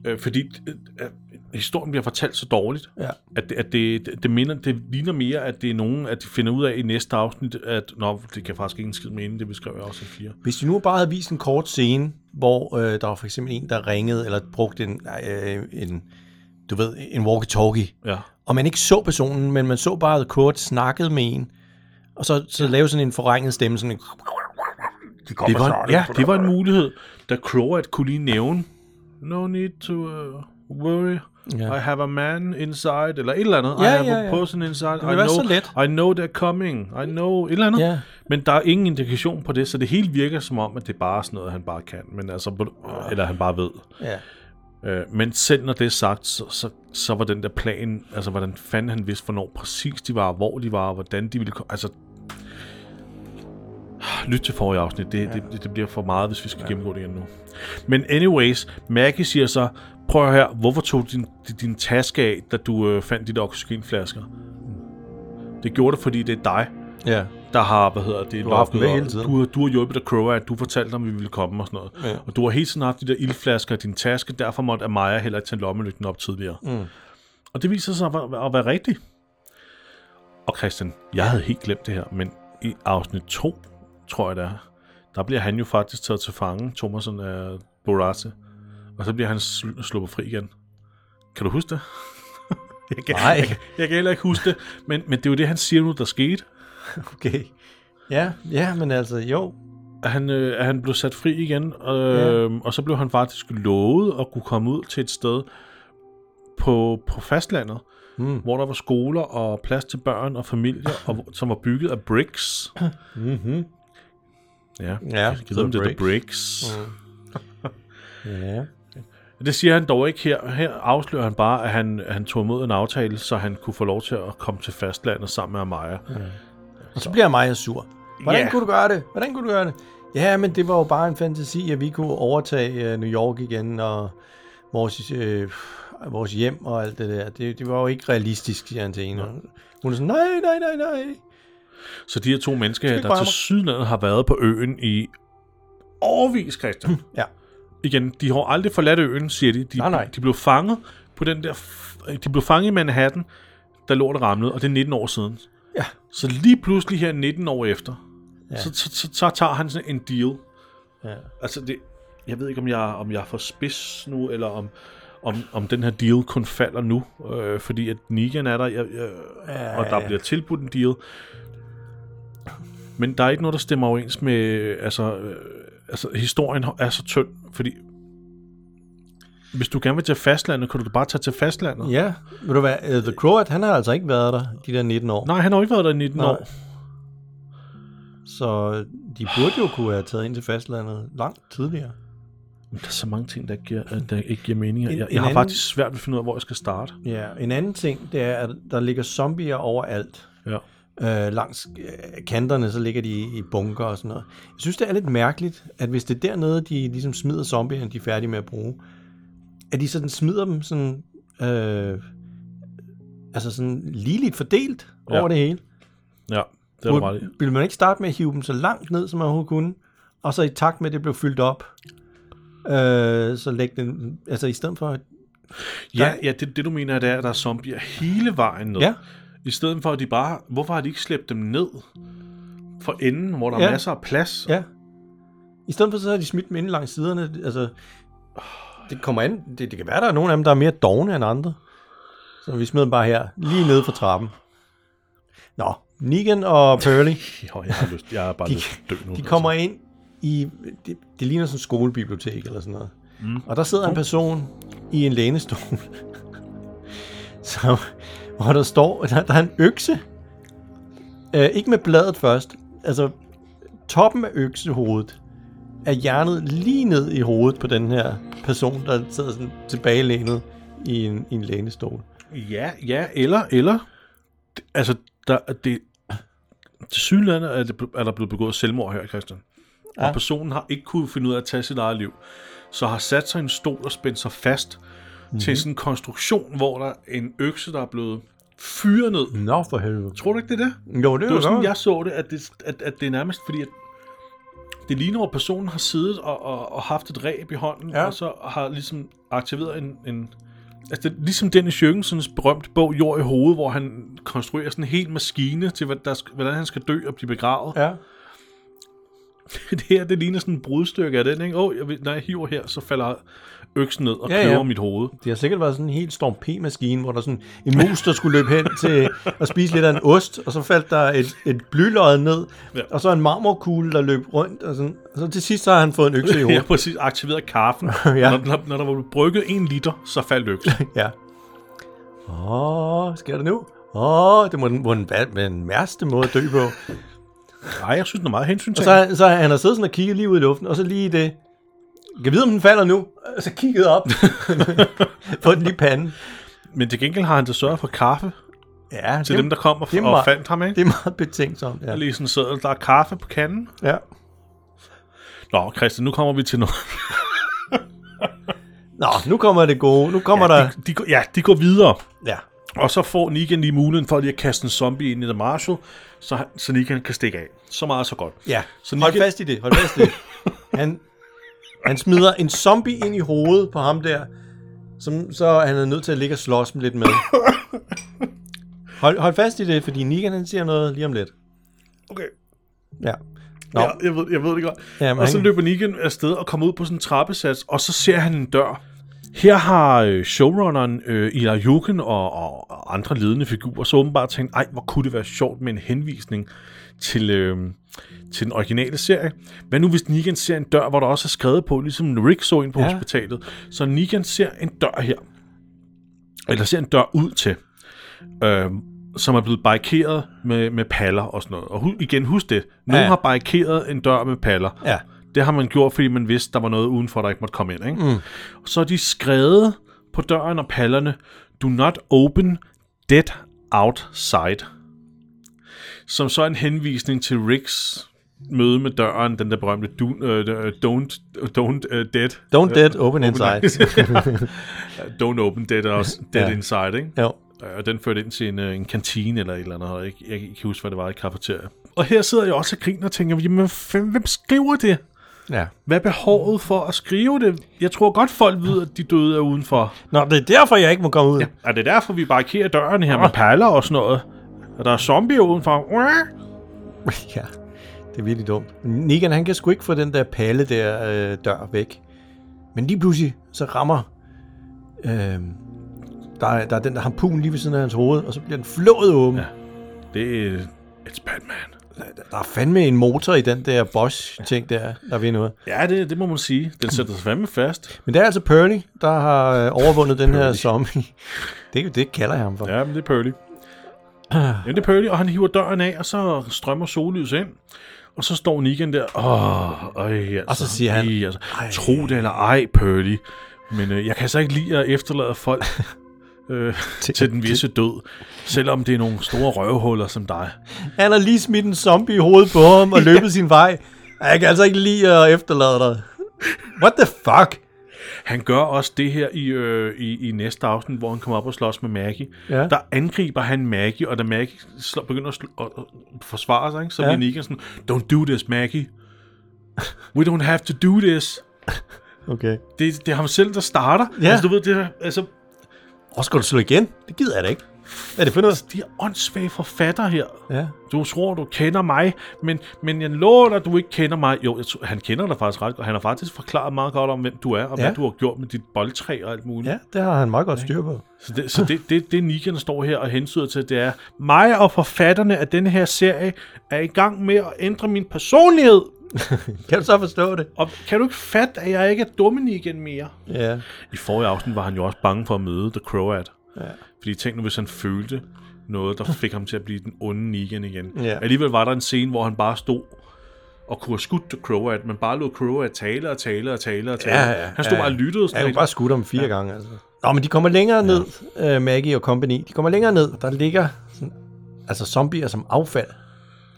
Speaker 1: Øh, fordi øh, øh, historien bliver fortalt så dårligt,
Speaker 2: Ja.
Speaker 1: at, det, at det, det, minder, det ligner mere, at det er nogen, at de finder ud af i næste afsnit, at nå, det kan faktisk ikke en skid mene, det beskrev jeg også i 4.
Speaker 2: Hvis de nu bare havde vist en kort scene, hvor øh, der var for eksempel en, der ringede, eller brugte en, øh, en du ved, en walkie-talkie,
Speaker 1: Ja.
Speaker 2: og man ikke så personen, men man så bare, at Kurt snakkede med en, og så, så lavede sådan en forringet stemme, sådan en...
Speaker 4: De kommer
Speaker 1: Det var,
Speaker 4: snart.
Speaker 1: ja, det var en mulighed, da Croat kunne lige nævne, no need to uh, worry,
Speaker 2: Ja.
Speaker 1: I have a man inside, eller et eller andet.
Speaker 2: Ja,
Speaker 1: I have
Speaker 2: ja,
Speaker 1: a
Speaker 2: ja.
Speaker 1: person inside. I
Speaker 2: ville være
Speaker 1: know,
Speaker 2: så let.
Speaker 1: I know they're coming. I know et eller andet.
Speaker 2: Ja.
Speaker 1: Men der er ingen indikation på det, så det hele virker som om, at det er bare er sådan noget, han bare kan. Men altså, eller han bare ved.
Speaker 2: ja.
Speaker 1: Øh, men selv når det er sagt, så, så, så var den der plan, altså hvordan fanden han vidste, hvornår præcis de var, hvor de var, hvordan de ville komme. Altså, lyt til forrige afsnit. Det, ja. det, det bliver for meget, hvis vi skal ja. gennemgå det igen nu. Men anyways, Maggie siger så, prøv her, hvorfor tog du din, din, din taske af, da du øh, fandt dit oxygenflasker? Det gjorde det, fordi det er dig,
Speaker 2: ja.
Speaker 1: der har, hvad hedder det,
Speaker 2: Du har haft dem
Speaker 1: lukket,
Speaker 2: med
Speaker 1: og
Speaker 2: hele tiden.
Speaker 1: Du, har- du har hjulpet af Crow, at du fortalte dem, at vi ville komme og sådan noget.
Speaker 2: Ja.
Speaker 1: Og du har hele tiden haft de der ildflasker i din taske, derfor måtte Amaya heller ikke tage lommelygten op tidligere. Mm. Og det viser sig at være, at være rigtigt. Og Christian, jeg havde helt glemt det her, men i afsnit 2, tror jeg det er, der bliver han jo faktisk taget til fange, Thomasen af Borace. Og så bliver han sl- sluppet fri igen. Kan du huske det? jeg kan,
Speaker 2: Nej.
Speaker 1: Jeg, kan- jeg kan heller ikke huske det, men, men det er jo det, han siger nu, der skete.
Speaker 2: Okay. Ja, ja, men altså, jo.
Speaker 1: at han, øh, at han blev sat fri igen, øh, ja. og så blev han faktisk lovet at kunne komme ud til et sted på, på fastlandet, mm. hvor der var skoler og plads til børn og familier, og, hvor- som var bygget af bricks. Mm-hmm. Ja,
Speaker 2: Ja,
Speaker 1: jeg ved, om det er bricks.
Speaker 2: Ja.
Speaker 1: Mm. Det siger han dog ikke her. Her afslører han bare, at han, at han tog imod en aftale, så han kunne få lov til at komme til fastlandet sammen med Amaya. Mm.
Speaker 2: Og så bliver Maja sur. Hvordan
Speaker 1: Ja.
Speaker 2: yeah. kunne du gøre det? Hvordan kunne du gøre det? Ja, men det var jo bare en fantasi, at vi kunne overtage øh, New York igen, og vores, øh, vores hjem og alt det der. Det, det var jo ikke realistisk, siger han til hende. Hun er sådan, nej, nej, nej, nej.
Speaker 1: Så de her to mennesker, her,
Speaker 2: ikke
Speaker 1: der
Speaker 2: røre mig.
Speaker 1: til sydenlandet har været på øen i årvis, Christian.
Speaker 2: Ja.
Speaker 1: igen, de har aldrig forladt øen, siger de. De,
Speaker 2: Nej, nej.
Speaker 1: de blev fanget på den der... f- De blev fanget i Manhattan, der lå der ramlede, og det er 19 år siden.
Speaker 2: Ja.
Speaker 1: Så lige pludselig her 19 år efter, ja. så, så, så, så tager han sådan en deal.
Speaker 2: Ja.
Speaker 1: Altså, det, jeg ved ikke, om jeg, om jeg er for spids nu, eller om, om, om den her deal kun falder nu, øh, fordi at Negan er der, jeg, jeg, ja, og der ja. bliver tilbudt en deal. Men der er ikke noget, der stemmer overens med... øh, Altså, øh, altså historien er så tynd, fordi... Hvis du gerne vil til fastlandet, kan du da bare tage til fastlandet.
Speaker 2: Ja, ved du hvad, øh, The Croat, han har altså ikke været der de der 19 år.
Speaker 1: Nej, han har jo ikke været der i 19 Nej.
Speaker 2: Nej.
Speaker 1: år.
Speaker 2: Så øh, de burde jo kunne have taget ind til fastlandet langt tidligere.
Speaker 1: Men Der er så mange ting, der ikke giver, øh, der ikke giver mening.
Speaker 2: En-
Speaker 1: Jeg,
Speaker 2: en
Speaker 1: jeg har
Speaker 2: anden-
Speaker 1: faktisk svært ved at finde ud af, hvor jeg skal starte.
Speaker 2: Ja, en anden ting, det er, at der ligger zombier overalt.
Speaker 1: Ja.
Speaker 2: Øh, langs øh, kanterne, så ligger de i bunker og sådan noget. Jeg synes, det er lidt mærkeligt, at hvis det er dernede, de ligesom smider zombierne, de er færdige med at bruge, at de sådan smider dem sådan, øh, altså sådan ligeligt fordelt
Speaker 1: Ja.
Speaker 2: ja. over det hele.
Speaker 1: Ja, det er du ret i.
Speaker 2: Burde- Ville man ikke starte med at hive dem så langt ned, som man overhovedet kunne, og så i takt med, at det blev fyldt op, øh, så lægge den, altså i stedet for, at,
Speaker 1: Ja,
Speaker 2: Der-
Speaker 1: ja det, det du mener, det er, at der er zombier hele vejen ned.
Speaker 2: ja,
Speaker 1: I stedet for, at de bare... Hvorfor har de ikke slæbt dem ned for enden, hvor der ja. er
Speaker 2: Ja.
Speaker 1: masser af plads?
Speaker 2: Ja. I stedet for så har de smidt dem ind langs siderne. Altså, det kommer an. Det, det kan være, der er nogle af dem, der er mere dogne end andre. Så vi smider dem bare her, lige nede fra trappen. Nå, Negan og Pearly,
Speaker 1: Jo, jeg har, lyst, jeg har bare de,
Speaker 2: De-
Speaker 1: lyst til at dø nu.
Speaker 2: de kommer ind i... Det, det ligner sådan en skolebibliotek eller sådan noget. Mm. Og der sidder en person i en lænestol, som, hvor der står... Der, der er en økse. Øh, ikke med bladet først. Altså, toppen af øksehovedet er hjernet lige ned i hovedet på den her person, der sidder sådan tilbagelænet i en, i en lænestol.
Speaker 1: Ja, ja, eller, eller... Altså, der, det, Til sydlandet er, det, er der blevet begået selvmord her, Christian. Ja. Og personen har ikke kunnet finde ud af at tage sit eget liv. Så har sat sig i en stol og spændt sig fast mm-hmm. til sådan en konstruktion, hvor der er en økse, der er blevet fyret ned.
Speaker 2: Nå, for helvede.
Speaker 1: Tror du ikke, det er det?
Speaker 2: Jo, det,
Speaker 1: Det var sådan,
Speaker 2: godt.
Speaker 1: jeg så det, at det, at, at det er nærmest fordi, at det ligner, hvor personen har siddet og, og, og haft et ræb i hånden, ja.
Speaker 2: Ja.
Speaker 1: og så har ligesom aktiveret en... en altså, det, er ligesom Dennis Jørgensens berømte bog, Jord i hovedet, hvor han konstruerer sådan en hel maskine til, hvad der, sk- hvordan han skal dø og blive begravet. Ja.
Speaker 2: Ja.
Speaker 1: Det her, det ligner sådan en brudstykke af den, ikke? Åh, oh, når jeg hiver her, så falder øksen ned og
Speaker 2: Ja,
Speaker 1: ja,
Speaker 2: ja.
Speaker 1: kløver mit hoved.
Speaker 2: Det har sikkert været sådan en helt Storm P-maskine, hvor der sådan en mus, der skulle løbe hen til at spise lidt af en ost, og så faldt der et, et blylod ned,
Speaker 1: Ja.
Speaker 2: ja. og så en marmorkugle, der løb rundt, og, sådan. og så til sidst så har han fået en økse i
Speaker 1: Jeg har
Speaker 2: hovedet.
Speaker 1: præcis aktiveret kaffen.
Speaker 2: Ja.
Speaker 1: når, når, når der var brygget en liter, så faldt øksen.
Speaker 2: ja. Åh, hvad sker der nu? Åh, det må den, må den være den værste måde at dø på.
Speaker 1: Nej, jeg synes, den er meget hensyn
Speaker 2: Og så, har- så har han har siddet sådan og kigget lige ud i luften, og så lige det. Jeg vide, om den falder nu. Og så kigget op. Få den lige i panden.
Speaker 1: Men til gengæld har han da sørget for kaffe
Speaker 2: Ja,
Speaker 1: til dem, der kom og,
Speaker 2: det er
Speaker 1: og
Speaker 2: meget-
Speaker 1: fandt ham, ikke?
Speaker 2: det er meget betænksomt. Ja.
Speaker 1: Der er lige sådan en seddel, der er kaffe på kanden.
Speaker 2: ja.
Speaker 1: Nå, Christian, nu kommer vi til noget.
Speaker 2: Nå, nu kommer det gode. Nu kommer ja, der...
Speaker 1: De, går- ja, de går videre.
Speaker 2: Ja.
Speaker 1: Og så får Negan lige muligheden for lige at kaste en zombie ind i The Marshall, så, han- så Negan kan stikke af. Så meget, så godt.
Speaker 2: ja.
Speaker 1: Så
Speaker 2: Så hold
Speaker 1: Negan-
Speaker 2: fast i det. Hold fast i det. Han, han smider en zombie ind i hovedet på ham der, som så han er nødt til at ligge og slås med lidt med. Hold, hold fast i det, fordi Negan han siger noget lige om lidt.
Speaker 1: Okay.
Speaker 2: Ja. Nå.
Speaker 1: Ja, jeg, ved, jeg ved det godt.
Speaker 2: Jamen,
Speaker 1: og så
Speaker 2: han-
Speaker 1: løber Negan afsted og kommer ud på sådan en trappesats, og så ser han en dør. Her har øh, showrunneren øh, Ila Juken og, og og andre ledende figurer så åbenbart tænkt, ej, hvor kunne det være sjovt med en henvisning til, øh, til den originale serie. Hvad nu, hvis Negan ser en dør, hvor der også er skrevet på, ligesom Rick så ind på ja.
Speaker 2: Ja.
Speaker 1: hospitalet. Så Negan ser en dør her, eller ser en dør ud til, øh, som er blevet barrikeret med, med paller og sådan noget. Og hu- igen, husk det. Nogen ja.
Speaker 2: Ja.
Speaker 1: har barrikeret en dør med paller.
Speaker 2: Ja.
Speaker 1: Det har man gjort, fordi man vidste, der var noget udenfor, der ikke måtte komme ind. Ikke? Mm. Så er de skrevet på døren og pallerne, do not open dead outside. Som så er en henvisning til Ricks møde med døren, den der berømte do, øh, don't, don't øh, dead,
Speaker 2: Don't dead, open inside.
Speaker 1: don't open dead, og også dead ja.
Speaker 2: Ja.
Speaker 1: inside. Ikke?
Speaker 2: Jo.
Speaker 1: Øh, Og den førte ind til en, øh, en kantine eller et eller andet. og Jeg, jeg, jeg kan ikke huske, hvad det var i kafeteria. Og her sidder jeg også og griner og tænker, jamen hvad fanden, hvem skriver det?
Speaker 2: Ja.
Speaker 1: Hvad er behovet for at skrive det? Jeg tror godt, folk ved, at de døde er udenfor.
Speaker 2: Nå, det er derfor, jeg ikke må komme ud. Ja.
Speaker 1: Er det derfor, vi barrikerer døren her med perler og sådan noget? Og der er zombier udenfor.
Speaker 2: ja. Det er virkelig dumt. Negan, han kan sgu ikke få den der palle der øh, dør væk. Men lige pludselig, så rammer... Øh, der, er- der er den der harpun lige ved siden af hans hoved, og så bliver den flået åben. Ja.
Speaker 1: Det er... It's Batman.
Speaker 2: Der er fandme en motor i den der Bosch-ting der, der ved noget.
Speaker 1: Ja, det, det må man sige. Den sætter sig fandme fast.
Speaker 2: Men det er altså Purdy, der har øh, overvundet den her zombie. Det, det kalder jeg ham for. Ja.
Speaker 1: Ja, men det er Pearly. Jamen, det er Pearly, og han hiver døren af, og så strømmer sollys ind. Og så står Negan der, åh, øj, altså,
Speaker 2: Og så siger han,
Speaker 1: ej, altså, tro det eller ej, Pearly, men øh, jeg kan altså ikke lide at efterlade folk øh, til, til den visse død, selvom det er nogle store røvhuller som dig.
Speaker 2: Han har lige smidt en zombie i hovedet på ham og løbet sin vej. Ej, Jeg kan altså ikke lide at efterlade dig. What the fuck?
Speaker 1: Han gør også det her i, øh, i, i næste afsnit, hvor han kommer op og slås med Maggie.
Speaker 2: Ja.
Speaker 1: Der angriber han Maggie, og da Maggie slår, begynder at slå, og, og forsvare sig, ikke, så
Speaker 2: Ja.
Speaker 1: bliver Negan sådan, Don't do this, Maggie. We don't have to do this.
Speaker 2: Okay.
Speaker 1: Det, det er ham selv, der starter.
Speaker 2: Ja.
Speaker 1: Altså, du ved, det er, altså,
Speaker 2: Og skal du slå igen? Det gider jeg da ikke. Hvad er det for noget?
Speaker 1: de her åndssvage forfatter her.
Speaker 2: Ja.
Speaker 1: Du tror, du kender mig, men, men jeg lover dig, du ikke kender mig. Jo, jeg tror, han kender dig faktisk ret godt. Han har faktisk forklaret meget godt om, hvem du er, og ja.
Speaker 2: Ja.
Speaker 1: hvad du har gjort med dit boldtræ og alt muligt.
Speaker 2: ja, det har han meget godt styr på.
Speaker 1: Så det, så det, det, det Negan står her og hensyder til, det er, mig og forfatterne af denne her serie er i gang med at ændre min personlighed.
Speaker 2: Kan du så forstå det?
Speaker 1: Og kan du ikke fatte, at jeg ikke er dumme Negan mere?
Speaker 2: Ja.
Speaker 1: I forrige afsnit var han jo også bange for at møde The Croat. Ja. Fordi tænk nu, hvis han følte noget, der fik ham til at blive den onde Negan igen.
Speaker 2: Ja.
Speaker 1: Alligevel var der en scene, hvor han bare stod og kunne have skudt The Croat, men bare lod Croat tale og tale og tale og tale.
Speaker 2: Ja, ja,
Speaker 1: han stod
Speaker 2: ja.
Speaker 1: bare og lyttede.
Speaker 2: Jeg har
Speaker 1: sådan
Speaker 2: jo bare skudt om fire ja. gange, altså. Nå, men de kommer længere ned, øh, ja. Maggie og company. De kommer længere ned. Der ligger sådan, altså zombier som affald.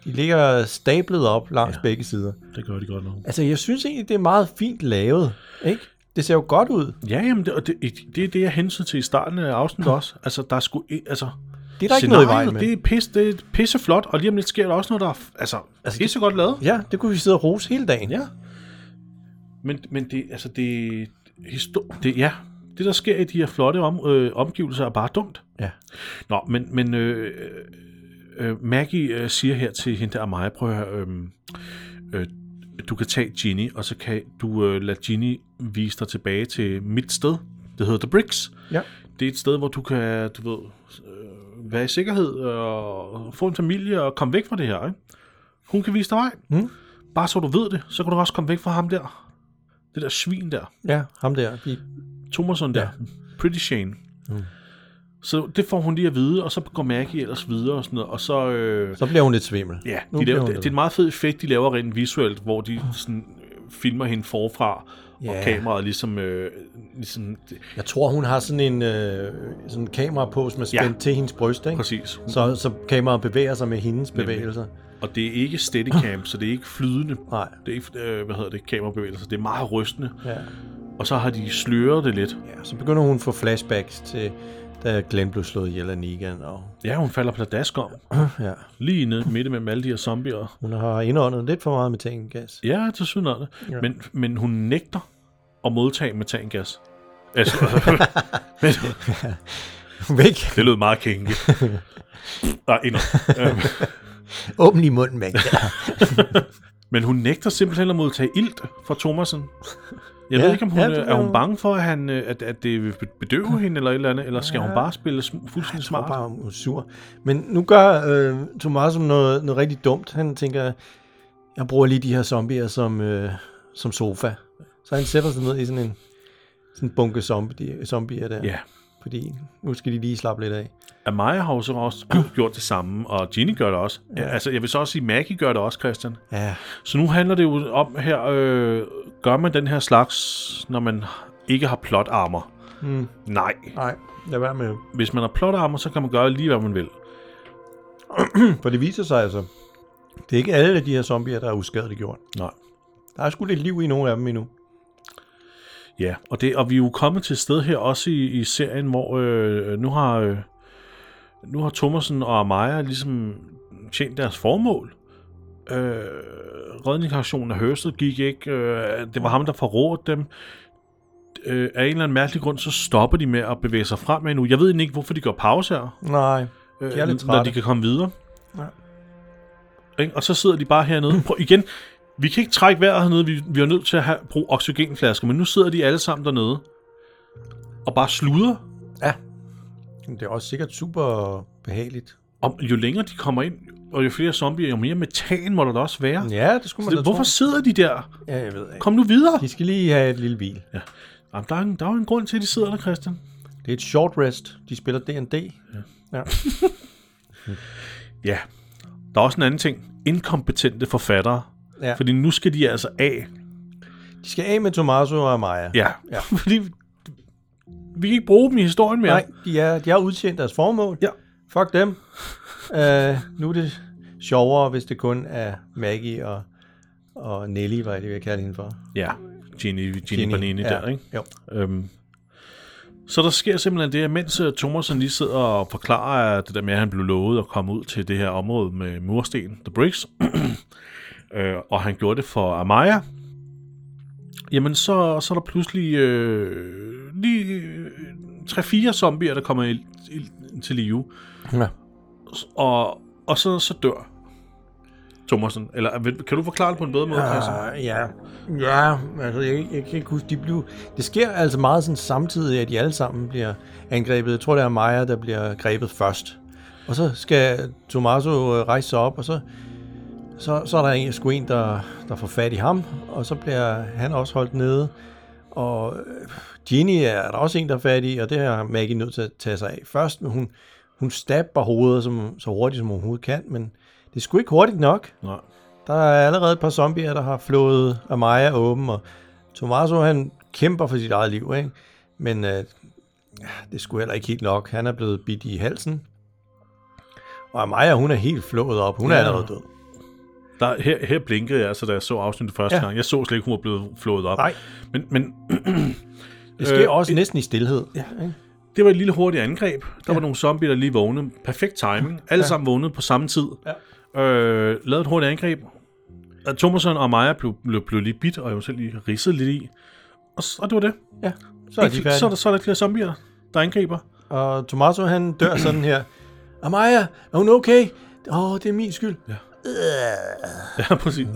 Speaker 2: De ligger stablet op langs ja. begge sider.
Speaker 1: Det gør de godt nok.
Speaker 2: Altså, jeg synes egentlig, det er meget fint lavet, ikke? Det ser jo godt ud.
Speaker 1: Ja, jamen, det, og det, det er det, jeg hensede til i starten af afsnittet også. Altså, der er sgu... i- Altså,
Speaker 2: Ah. Det er der ikke noget i vejen
Speaker 1: scenariet,
Speaker 2: med.
Speaker 1: Det er, pis, det er pisseflot, og lige om lidt sker der også noget, der er f- altså, altså, pisse godt lavet.
Speaker 2: Ja, det kunne vi sidde og rose hele dagen.
Speaker 1: Ja. Men, men det, altså det, histo- det, ja, det der sker i de her flotte om, øh, omgivelser er bare dumt.
Speaker 2: ja.
Speaker 1: Nå, men, men øh, øh, Maggie øh, siger her til hende der Amaya, prøv at høre, øh, øh, du kan tage Ginny, og så kan du øh, lade Ginny vise dig tilbage til mit sted. Det hedder The Bricks.
Speaker 2: ja.
Speaker 1: Det er et sted, hvor du kan, du ved, øh, være i sikkerhed og få en familie og komme væk fra det her, ikke? Hun kan vise dig vej.
Speaker 2: Mm.
Speaker 1: Bare så du ved det, så kan du også komme væk fra ham der. Det der svin der.
Speaker 2: Ja, ham der. De,
Speaker 1: Thomasson der. Pretty Shane. Mm. Så det får hun lige at vide, og så går Maggie ellers videre og sådan noget, og så... Øh,
Speaker 2: så bliver hun lidt svimmel.
Speaker 1: ja,
Speaker 2: nu
Speaker 1: de
Speaker 2: bliver
Speaker 1: laver,
Speaker 2: hun
Speaker 1: det,
Speaker 2: lidt-
Speaker 1: det er en meget fed effekt, de laver rent visuelt, hvor de sådan, øh, filmer hende forfra,
Speaker 2: Ja.
Speaker 1: og kameraet ligesom... Øh, ligesom det,
Speaker 2: Jeg tror, hun har sådan en øh, sådan en kamera på, som er
Speaker 1: Ja.
Speaker 2: spændt til hendes bryst, ikke?
Speaker 1: præcis.
Speaker 2: Så, så kameraet bevæger sig med hendes bevægelser.
Speaker 1: Og det er ikke steadicam, så det er ikke flydende.
Speaker 2: Nej.
Speaker 1: Det er ikke, øh, hvad hedder det, kamerabevægelser. Det er meget rystende.
Speaker 2: Ja.
Speaker 1: Og så har de sløret det lidt.
Speaker 2: ja. Så begynder hun at få flashbacks til, da Glenn blev slået ihjel af Negan. Og,
Speaker 1: Ja, hun falder pladask om.
Speaker 2: ja.
Speaker 1: Lige nede midt mellem alle de her zombier.
Speaker 2: Hun har indåndet lidt for meget metangas.
Speaker 1: Ja, til synes det. Ja. Men, men hun nægter at modtage metangas. Altså, men,
Speaker 2: Væk!
Speaker 1: det lød meget kænke. Nej, endnu. Øhm,
Speaker 2: Åbn i munden, væk. Ja.
Speaker 1: Men hun nægter simpelthen at modtage ilt fra Thomasen. Jeg
Speaker 2: Ja,
Speaker 1: ja, ved ikke, om hun,
Speaker 2: ja,
Speaker 1: ja,
Speaker 2: det
Speaker 1: er hun
Speaker 2: er-
Speaker 1: bange for, at, han, øh, at, at det vil bedøve hende eller et eller andet, eller skal ja. hun bare spille sm- fuldstændig
Speaker 2: Jeg
Speaker 1: smart?
Speaker 2: tror bare, hun er sur. Men nu gør øh, Thomas som noget, noget rigtig dumt. Han tænker, jeg bruger lige de her zombier som, øh, som sofa. Så han sætter sig ned i sådan en, sådan en bunke zombie, zombier der.
Speaker 1: Ja.
Speaker 2: Fordi nu skal de lige slappe lidt af.
Speaker 1: Amaya har jo så også gjort det samme, og Ginny gør det også. Ja. Altså, jeg vil så også sige, Maggie gør det også, Christian.
Speaker 2: Ja,
Speaker 1: Så nu handler det jo om her, øh, gør man den her slags, når man ikke har plotarmer? Mm. Nej.
Speaker 2: nej, lad være med.
Speaker 1: Hvis man har plotarmer, så kan man gøre lige, hvad man vil.
Speaker 2: For det viser sig altså, det er ikke alle af de her zombier, der er uskadeligt gjort.
Speaker 1: Nej.
Speaker 2: Der er sgu lidt liv i nogle af dem endnu.
Speaker 1: Ja, og, det, og vi er jo kommet til et sted her også i, i serien, hvor øh, nu har øh, nu har Thomasen og Amaya ligesom tjent deres formål. Øh, redningsaktionen af Hørsted gik ikke. Øh, det var ham, der forrådte dem. Øh, af en eller anden mærkelig grund, så stopper de med at bevæge sig frem nu. Jeg ved egentlig ikke, hvorfor de går pause her,
Speaker 2: Nej,
Speaker 1: øh,
Speaker 2: de er lidt
Speaker 1: når de
Speaker 2: trætte.
Speaker 1: kan komme videre. Ikke? Og så sidder de bare hernede. Prøv, igen, vi kan ikke trække vejret hernede. Vi, vi er nødt til at have, bruge oxygenflasker, men nu sidder de alle sammen dernede og bare sluder.
Speaker 2: Ja. Men Det er også sikkert super behageligt.
Speaker 1: Og jo længere de kommer ind, og jo flere zombier, jo mere metan må der da også være.
Speaker 2: Ja, det skulle man
Speaker 1: Så
Speaker 2: da
Speaker 1: det, hvorfor
Speaker 2: tro.
Speaker 1: sidder de der?
Speaker 2: Ja, jeg ved ikke.
Speaker 1: Kom nu videre!
Speaker 2: De skal lige have et lille hvil.
Speaker 1: Ja. Jamen, der, er en, der er jo en grund til, at de sidder der, Christian.
Speaker 2: Det er et short rest. De spiller D&D. Ja. ja.
Speaker 1: Ja. Der er også en anden ting. Inkompetente forfattere.
Speaker 2: ja.
Speaker 1: Fordi nu skal de altså af.
Speaker 2: De skal af med Tommaso og Maja.
Speaker 1: Ja.
Speaker 2: Ja.
Speaker 1: Fordi vi kan ikke bruge dem i historien mere.
Speaker 2: Nej, de, er, de har udtjent deres formål.
Speaker 1: Ja.
Speaker 2: Fuck dem. uh, nu er det sjovere, hvis det kun er Maggie og, og Nelly, hvad er det, jeg kalder hende for?
Speaker 1: Ja. Ginny, Ginny, Ginny Banini
Speaker 2: ja.
Speaker 1: der, ikke?
Speaker 2: Jo.
Speaker 1: Øhm. Så der sker simpelthen det, at mens øh, Thomasen lige sidder og forklarer det der med, at han blev lovet at komme ud til det her område med mursten, The Bricks, øh, og han gjorde det for Amaya, jamen så, så er der pludselig øh, lige øh, 3-4 zombier, der kommer i, i, til live,
Speaker 2: Ja.
Speaker 1: og, og så, så dør Thomasen. Eller vil- kan du forklare det på en bedre måde, Christian?
Speaker 2: Uh, ja. Ja, altså jeg, jeg kan ikke huske, de blev... Det sker altså meget sådan samtidig, at de alle sammen bliver angrebet. Jeg tror, det er Maja, der bliver grebet først. Og så skal Tommaso øh, rejse sig op, og så, så, så er der en, sgu en, der, der får fat i ham, og så bliver han også holdt nede. Og øh, Ginny er der også en, der er fat i, og det er Maggie nødt til at tage sig af først, men hun, hun stabber hovedet som, så hurtigt, som hun overhovedet kan, men det er sgu ikke hurtigt nok.
Speaker 1: Nej.
Speaker 2: Der er allerede et par zombier, der har flået Amaya åben, og Tommaso han kæmper for sit eget liv, ikke? Men øh, ja, det skulle heller ikke helt nok. Han er blevet bidt i halsen. Og Amaya, hun er helt flået op. Hun er
Speaker 1: Ja.
Speaker 2: allerede død.
Speaker 1: Der, her, her blinkede jeg, altså, da jeg så afsnittet første
Speaker 2: Ja.
Speaker 1: ja. gang. Jeg så slet ikke, hun var blevet flået op.
Speaker 2: Nej.
Speaker 1: Men, men
Speaker 2: Det sker
Speaker 1: Øh,
Speaker 2: også næsten i stillhed. Ja, ikke?
Speaker 1: det var et lille hurtigt angreb. Der ja. var nogle zombier, der lige vågnede. Perfekt timing. Alle ja. sammen vågnede på samme tid. Ja. Øh, lavede et hurtigt angreb. Og Thomason og Maja blev, blev, blev lige bit, og jeg var selv lige ridset lidt i. Og, s- og det var det.
Speaker 2: ja. Så er de
Speaker 1: Ikke- så, er
Speaker 2: færdige.
Speaker 1: der, så er der flere zombier, der angriber.
Speaker 2: Og Tomaso, han dør sådan her. Amaya, er hun okay? Åh, oh, det er min skyld. Øh. Ja.
Speaker 1: Ja, præcis. Øh.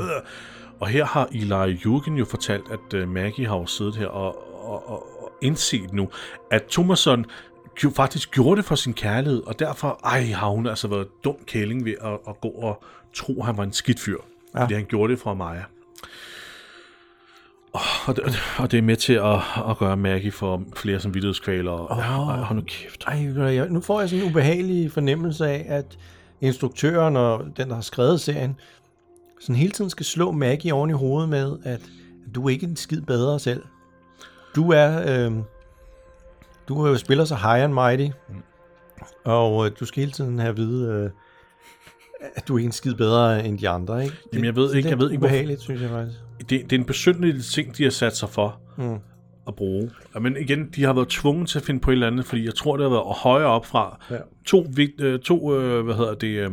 Speaker 1: Og her har Eli Jürgen jo fortalt, at øh, Maggie har jo siddet her og, og, og, og indset nu, at Thomasson jo faktisk gjorde det for sin kærlighed, og derfor ej, har hun altså været dum kælling ved at, at gå og tro, at han var en skidt fyr. Ja. Fordi han gjorde det fra Maja. Og det, og det er med til at, at gøre Maggie for flere som vidtighedskvaler. Oh. Ja, hold nu kæft.
Speaker 2: Ej, ved du hvad, jeg- nu får jeg sådan en ubehagelig fornemmelse af, at instruktøren og den, der har skrevet serien, sådan hele tiden skal slå Maggie oven i hovedet med, at du er ikke en skid bedre selv. Du er, øh, du er jo spiller så high and mighty,
Speaker 1: Mm.
Speaker 2: og øh, du skal hele tiden have at vide, øh, at du er ikke en skid bedre end de andre, ikke? Det-
Speaker 1: Jamen, jeg ved ikke-
Speaker 2: det er
Speaker 1: jeg ved ikke, hvorfor-
Speaker 2: ubehageligt, synes jeg faktisk.
Speaker 1: det, det er en besynderlig ting, de har sat sig for mm. at bruge. Ja, Men igen, de har været tvunget til at finde på et eller andet, fordi jeg tror, det har været højere op fra. Ja. To, vigt- øh, to øh, hvad hedder det, øh,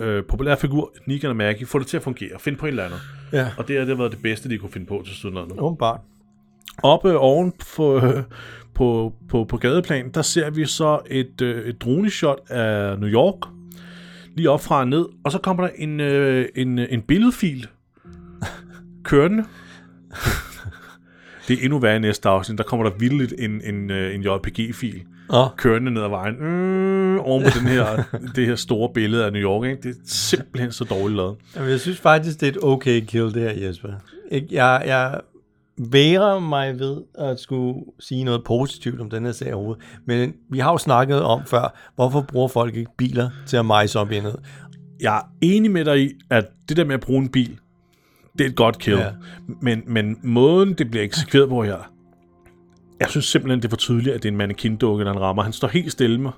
Speaker 1: øh, populære figur, Negan og Maggie, få det til at fungere. Find på et eller andet.
Speaker 2: Ja.
Speaker 1: Og det har det har været det bedste, de kunne finde på til siden nu.
Speaker 2: Åbenbart.
Speaker 1: Oppe oven på, øh, på, på, på gadeplan, der ser vi så et, øh, et droneshot af New York, lige op fra og ned, og så kommer der en, øh, en, øh, en billedfil kørende. det er endnu værre i næste afsnit, der kommer der vildt en, en, øh, en JPG-fil
Speaker 2: Nå.
Speaker 1: kørende ned ad vejen, mm, oven på den her, det her store billede af New York. Ikke? Det er simpelthen så dårligt lavet.
Speaker 2: Jamen, jeg synes faktisk, det er et okay kill, det her, Jesper. Ikke? Jeg, jeg værer mig ved at skulle sige noget positivt om den her serie overhovedet. Men vi har jo snakket om før, hvorfor bruger folk ikke biler til at majse op i ned?
Speaker 1: jeg er enig med dig i, at det der med at bruge en bil, det er et godt kill.
Speaker 2: Ja.
Speaker 1: Ja. Men, men måden, det bliver eksekveret på her, jeg synes simpelthen, det er for tydeligt, at det er en mannequin-dukke, der han rammer. Han står helt stille med,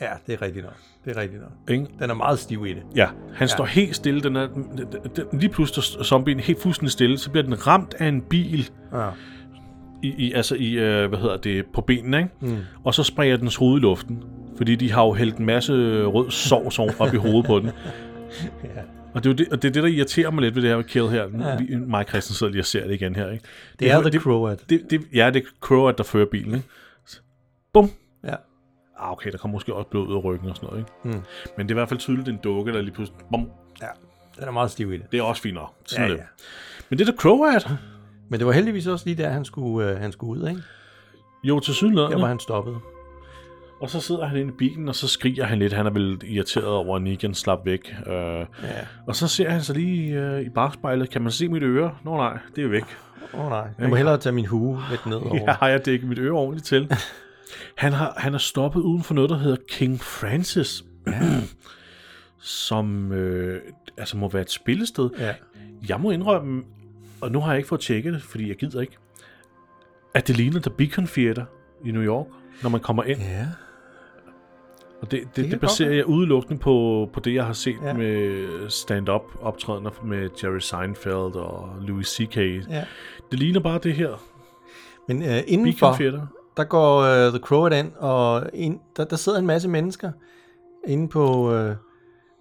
Speaker 2: Ja, det er rigtigt nok. Det er rigtigt nok.
Speaker 1: ikke?
Speaker 2: Den er meget stiv i det.
Speaker 1: Ja, han ja. står helt stille. Den er, den, den, lige pludselig står zombien helt fuldstændig stille, så bliver den ramt af en bil.
Speaker 2: Ja.
Speaker 1: i, i, altså i, øh, hvad hedder det, på benene, ikke? Mm. Og så springer dens hoved i luften, fordi de har jo hældt en masse rød sovs oven- op i hovedet på den. Og det, er jo det, og det er det, der irriterer mig lidt ved det her kill her. Ja. Vi, mig og Christian sidder lige og ser det igen her, ikke? Det,
Speaker 2: er The Crow at.
Speaker 1: Det, det, ja, det er Crow, at der fører bilen, ikke? Bum!
Speaker 2: Ja.
Speaker 1: Ah, okay, der kommer måske også blod ud af ryggen og sådan noget, ikke? Mm. Men det er i hvert fald tydeligt, at det er en dukke, der lige pludselig... Bum!
Speaker 2: ja. Den er meget stiv i det.
Speaker 1: Det er også fint nok. Sådan
Speaker 2: Ja,
Speaker 1: er
Speaker 2: ja.
Speaker 1: det. Men det er der Crow at.
Speaker 2: Men det var heldigvis også lige der, han skulle, øh, han skulle ud, ikke?
Speaker 1: Jo, til
Speaker 2: Der
Speaker 1: sydenlædende.
Speaker 2: var han stoppet.
Speaker 1: Og så sidder han inde i bilen, og så skriger han lidt. Han er vel irriteret over, at Negan slap væk. Øh, ja. Og så ser han sig lige øh, i bagspejlet. Kan man se mit øre? Nå nej, det er væk.
Speaker 2: Åh oh, nej, jeg må hellere tage min hue lidt ned over.
Speaker 1: Ja, har jeg dækket mit øre ordentligt til? Han har, han er stoppet uden for noget, der hedder King Francis. som øh, altså må være et spillested.
Speaker 2: Ja.
Speaker 1: Jeg må indrømme, og nu har jeg ikke fået tjekket det, fordi jeg gider ikke, at det ligner The Beacon Theater i New York, når man kommer ind.
Speaker 2: ja.
Speaker 1: Og det, det, det,
Speaker 2: kan
Speaker 1: det
Speaker 2: godt
Speaker 1: baserer jeg udelukkende på, på det, jeg har set
Speaker 2: Ja.
Speaker 1: ja. med stand-up optrædener med Jerry Seinfeld og Louis C.K. Ja.
Speaker 2: ja.
Speaker 1: Det ligner bare det her.
Speaker 2: Men øh,
Speaker 1: Beacon
Speaker 2: indenfor,
Speaker 1: Theater.
Speaker 2: Der går uh, The Crow ind, og ind, der, der sidder en masse mennesker inde på, uh,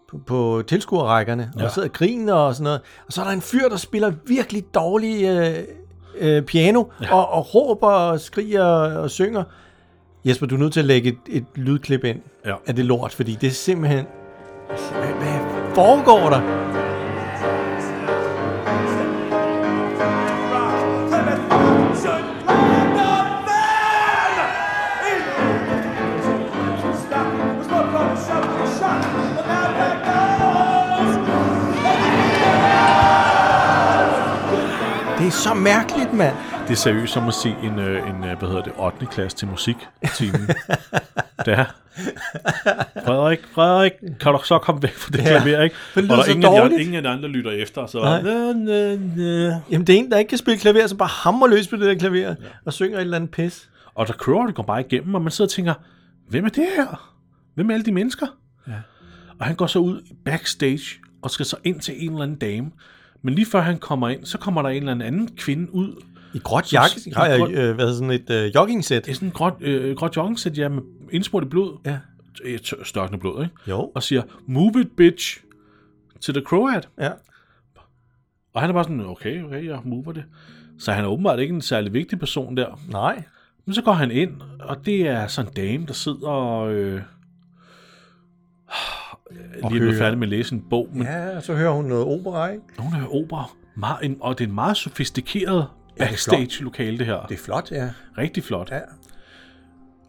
Speaker 2: på, på tilskuerrækkerne, ja. og sidder og griner og sådan noget. Og så er der en fyr, der spiller virkelig dårlig uh, uh, piano, ja. og, og råber og skriger og synger. Jesper, du er nødt til at lægge et, et lydklip ind
Speaker 1: Ja.
Speaker 2: af det lort, fordi det er simpelthen... Altså, Hvad, hvad foregår der? Det er så mærkeligt, mand.
Speaker 1: Det er seriøst som at se en, øh, en øh, hvad hedder det, 8. klasse til musik timen. det er. Frederik, Frederik, kan du så komme væk fra det
Speaker 2: Ja.
Speaker 1: ja. klaver, ikke?
Speaker 2: Det lyder
Speaker 1: og der
Speaker 2: så
Speaker 1: er ingen, af de,
Speaker 2: dårligt.
Speaker 1: ingen af de andre lytter efter, så...
Speaker 2: Nej.
Speaker 1: Næ, næ, næ.
Speaker 2: Jamen, det er en, der ikke kan spille klaver, som bare hammer løs på det der klaver ja. og synger et eller andet pis.
Speaker 1: Og der kører, det går bare igennem, og man sidder og tænker, hvem er det her? Hvem er alle de mennesker? Ja. Og han går så ud backstage og skal så ind til en eller anden dame. Men lige før han kommer ind, så kommer der en eller anden anden kvinde ud.
Speaker 2: I gråt jakke?
Speaker 1: i
Speaker 2: Har jeg
Speaker 1: gråt-
Speaker 2: øh, været sådan et øh, joggingsæt?
Speaker 1: Det er sådan en gråt, øh, gråt joggingsæt, ja, med indspurgt i blod.
Speaker 2: Ja.
Speaker 1: Øh, tør- Størkende blod, ikke?
Speaker 2: Jo.
Speaker 1: Og siger, move it, bitch, til The Croat.
Speaker 2: Ja.
Speaker 1: Og han er bare sådan, okay, okay, jeg mover det. Så han er åbenbart ikke en særlig vigtig person der.
Speaker 2: Nej.
Speaker 1: Men så går han ind, og det er sådan en dame, der sidder og... Øh, lige er blevet
Speaker 2: hører.
Speaker 1: færdig med at læse en bog, men ja.
Speaker 2: Ja, så hører hun noget opera, ikke?
Speaker 1: hun hører opera. Meget, en- og det er en meget sofistikeret
Speaker 2: flot.
Speaker 1: backstage-lokale, det her. Det
Speaker 2: Det er flot, ja.
Speaker 1: er rigtig flot.
Speaker 2: ja.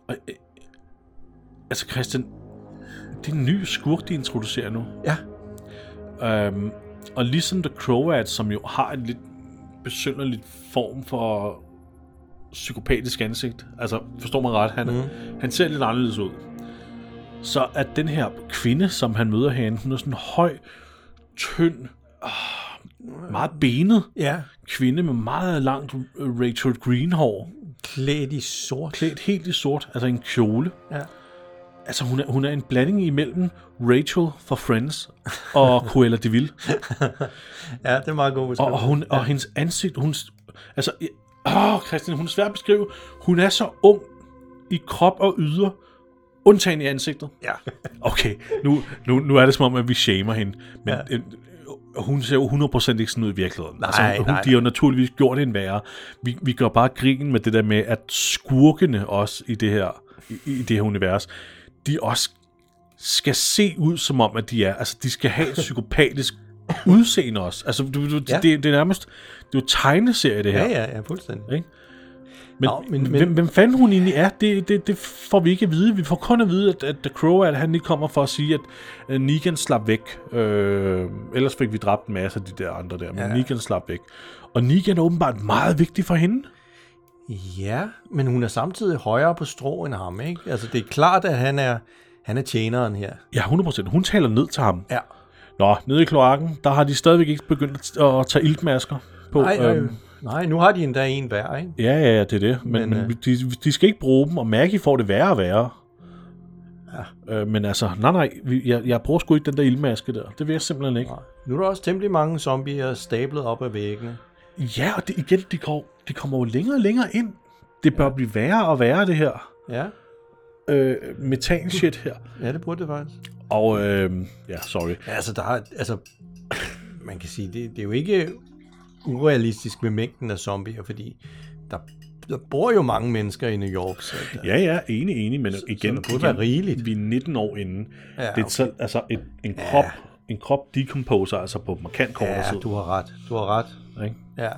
Speaker 1: Og, øh, altså Christian, det er en ny skurk, de introducerer nu.
Speaker 2: Ja.
Speaker 1: Øhm, og ligesom The Croat, som jo har en lidt besynderlig form for psykopatisk ansigt. Altså, forstår man ret, han, mm. han ser lidt anderledes ud. Så at den her kvinde, som han møder herinde, hun er sådan en høj, tynd, ah, meget benet
Speaker 2: Ja.
Speaker 1: kvinde med meget langt øh, Rachel Green-hår
Speaker 2: Klædt i sort.
Speaker 1: klædt helt i sort, altså en kjole.
Speaker 2: Ja.
Speaker 1: Altså, hun er, hun er en blanding imellem Rachel fra Friends og Cruella de Vil.
Speaker 2: Ja, det er meget god
Speaker 1: Og, og, hun, og hendes ansigt, hun... Altså, jeg- åh, Christian, hun er svær at beskrive. Hun er så ung i krop og yder, undtagen i ansigtet.
Speaker 2: Ja.
Speaker 1: Okay, nu, nu, nu er det som om, at vi shamer hende. Men
Speaker 2: Ja.
Speaker 1: ja. øh, hun ser jo 100% ikke sådan ud i virkeligheden.
Speaker 2: Nej,
Speaker 1: altså, hun,
Speaker 2: nej.
Speaker 1: De har jo naturligvis gjort hende værre. Vi, vi gør bare grin med det der med, at skurkene også i det her, i, i det her univers, de også skal se ud som om, at de er. Altså, de skal have et psykopatisk udseende også. Altså, du, du,
Speaker 2: Ja.
Speaker 1: ja. det, det er nærmest, det er jo tegneserie, det her.
Speaker 2: Ja, ja, ja, fuldstændig.
Speaker 1: Men,
Speaker 2: Nå,
Speaker 1: men,
Speaker 2: men- men-
Speaker 1: men hvem, hvem fanden hun egentlig er, det, det, det får vi ikke at vide. Vi får kun at vide, at, at The Crow, at han lige kommer for at sige, at øh, Negan slap væk. Øh, ellers fik vi dræbt en masse af de der andre der, men
Speaker 2: Ja.
Speaker 1: ja. Negan slap væk. Og Negan er åbenbart meget vigtig for hende.
Speaker 2: Ja, men hun er samtidig højere på strå end ham, ikke? Altså, det er klart, at han er, han er tjeneren her.
Speaker 1: Ja, 100%. Hun taler ned til ham.
Speaker 2: Ja.
Speaker 1: Nå, nede i kloakken, der har de stadigvæk ikke begyndt at, at tage iltmasker på.
Speaker 2: Nej, øh,
Speaker 1: Øhm,
Speaker 2: nej, nu har de endda en hver, ikke?
Speaker 1: ja, ja, det er det. Men,
Speaker 2: Men,
Speaker 1: men
Speaker 2: øh,
Speaker 1: øh, de, de skal ikke bruge dem, og Maggie får det værre og værre. Ja. Øh, men altså, nej, nej, vi, jeg, jeg bruger sgu ikke den der ildmaske der. Det vil jeg simpelthen ikke.
Speaker 2: Nu er der også temmelig mange zombier stablet op ad væggene.
Speaker 1: Ja, og det, igen, de kommer, de kommer jo længere og længere ind. Det bør ja. blive værre og værre, det her
Speaker 2: Ja,
Speaker 1: øh, metan-shit her.
Speaker 2: ja det burde det faktisk.
Speaker 1: Og øh, ja, sorry.
Speaker 2: Ja, altså, der er, altså, man kan sige, det, det er jo ikke urealistisk med mængden af zombier, fordi der, der bor jo mange mennesker i New York. Så der,
Speaker 1: Ja, ja, enig, enig, men igen,
Speaker 2: så det burde være rigeligt.
Speaker 1: vi er 19 år inden.
Speaker 2: Ja,
Speaker 1: Ja, det er
Speaker 2: okay.
Speaker 1: okay. selv, altså et, en krop, ja. en krop decomposer, altså på markant kortere
Speaker 2: ja,
Speaker 1: tid.
Speaker 2: du har ret. Du har ret.
Speaker 1: Ikke?
Speaker 2: Ja.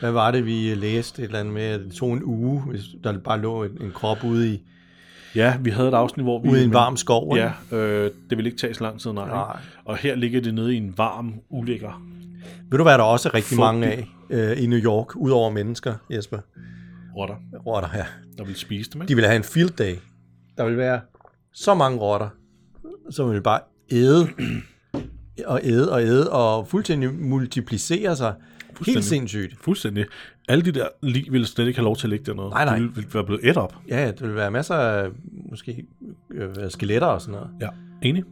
Speaker 2: Hvad var det, vi øh, læste et eller andet med, at det tog en uge, hvis der bare lå en, en krop ude i,
Speaker 1: Ja, vi havde et afsnit, hvor vi...
Speaker 2: ude i en varm skov? ikke?
Speaker 1: Ja, øh, det vil ikke tage så lang tid, nej.
Speaker 2: Nej.
Speaker 1: nej. Og her ligger det nede i en varm ulækker.
Speaker 2: Ved du, hvad der også er rigtig
Speaker 1: Fugtig.
Speaker 2: mange af øh, i New York, udover mennesker, Jesper?
Speaker 1: rotter,
Speaker 2: Rotter, ja.
Speaker 1: der vil spise dem, ikke?
Speaker 2: De vil have en field day. Der vil være så mange rotter, som vil bare æde og æde og æde og fuldstændig multiplicere sig. Helt
Speaker 1: Fuldstændig.
Speaker 2: sindssygt.
Speaker 1: Fuldstændig. Alle de der lige ville slet ikke have lov til at ligge dernede.
Speaker 2: Nej, nej.
Speaker 1: De ville, ville være blevet et op.
Speaker 2: Ja, der vil være masser af måske øh, skeletter og sådan noget,
Speaker 1: Ja. Enig.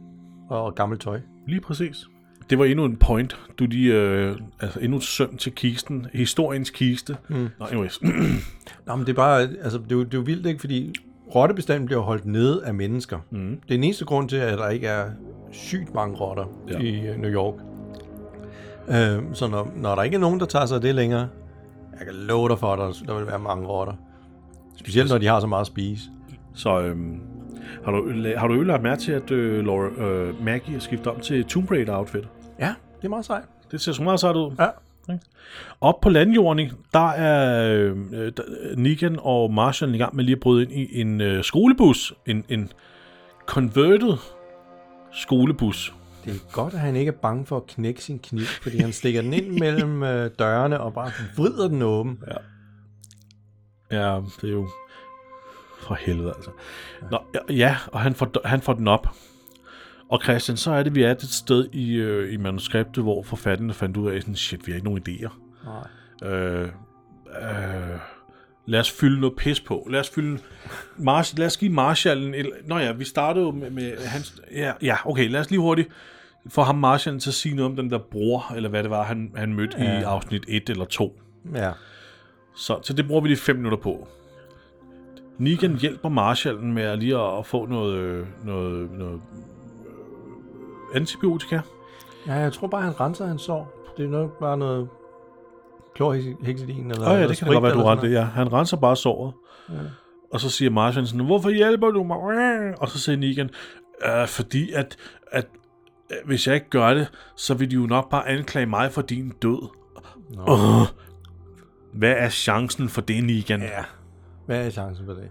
Speaker 2: og, og gammelt tøj.
Speaker 1: Lige præcis. Det var endnu en point. Du lige, øh, altså endnu et søm til kisten. Historiens kiste. Mm. Nå, anyways.
Speaker 2: Nå, men det er bare, altså, det er, jo, det er jo vildt, ikke? Fordi rottebestanden bliver holdt nede af mennesker. Mm. Det er den eneste grund til, at der ikke er sygt mange rotter ja.
Speaker 1: Ja.
Speaker 2: i øh, New York. Øh, så når, når der ikke er nogen, der tager sig af det længere, jeg kan love dig for, at der, der vil være mange rotter. Specielt når de har så meget at spise.
Speaker 1: Så øhm, har du, har du jo lagt mærke til, at øh, Laura, øh, Maggie har skiftet om til Tomb Raider outfit?
Speaker 2: Ja, det er meget sejt.
Speaker 1: Det ser så meget sejt ud.
Speaker 2: Ja.
Speaker 1: Op på landjorden, ikke? der er øh, øh, der- Negan og Marshall i gang med lige at bryde ind i en øh, skolebus. En, en converted skolebus.
Speaker 2: Det er godt, at han ikke er bange for at knække sin kniv, fordi han stikker den ind mellem øh, dørene og bare vrider den åben.
Speaker 1: Ja, det er jo for helvede altså. Nå, ja, og han får, han får den op. Og Christian, så er det, vi er et sted i, øh, i manuskriptet, hvor forfatterne fandt ud af, sådan, shit, vi har ikke nogen idéer.
Speaker 2: Nej.
Speaker 1: Øh, øh, lad os fylde noget pis på. Lad os fylde... Mars, lad os give Marshallen... Et, nå ja, vi startede jo med, med hans... Ja, ja, okay, lad os lige hurtigt får ham Martian til at sige noget om den der bror, eller hvad det var, han, han mødte ja. i afsnit 1 eller 2.
Speaker 2: Ja.
Speaker 1: Så, så det bruger vi lige 5 minutter på. Negan hjælper Marshalen med at lige at, at få noget, øh, noget, noget øh, antibiotika.
Speaker 2: ja, jeg tror bare, han renser hans sår. Det er nok bare noget klorhexidin. Eller
Speaker 1: Åh oh, ja,
Speaker 2: noget
Speaker 1: det kan
Speaker 2: sprit
Speaker 1: det godt være, du
Speaker 2: eller
Speaker 1: har
Speaker 2: sådan
Speaker 1: det. Ja. Han renser bare såret. Og så siger Martian sådan, hvorfor hjælper du mig? Og så siger Negan, øh, fordi at, at øh, hvis jeg ikke gør det, så vil de jo nok bare anklage mig for din død. Uh, hvad er chancen for det, Negan? Ja.
Speaker 2: Ja. Hvad er chancen for det?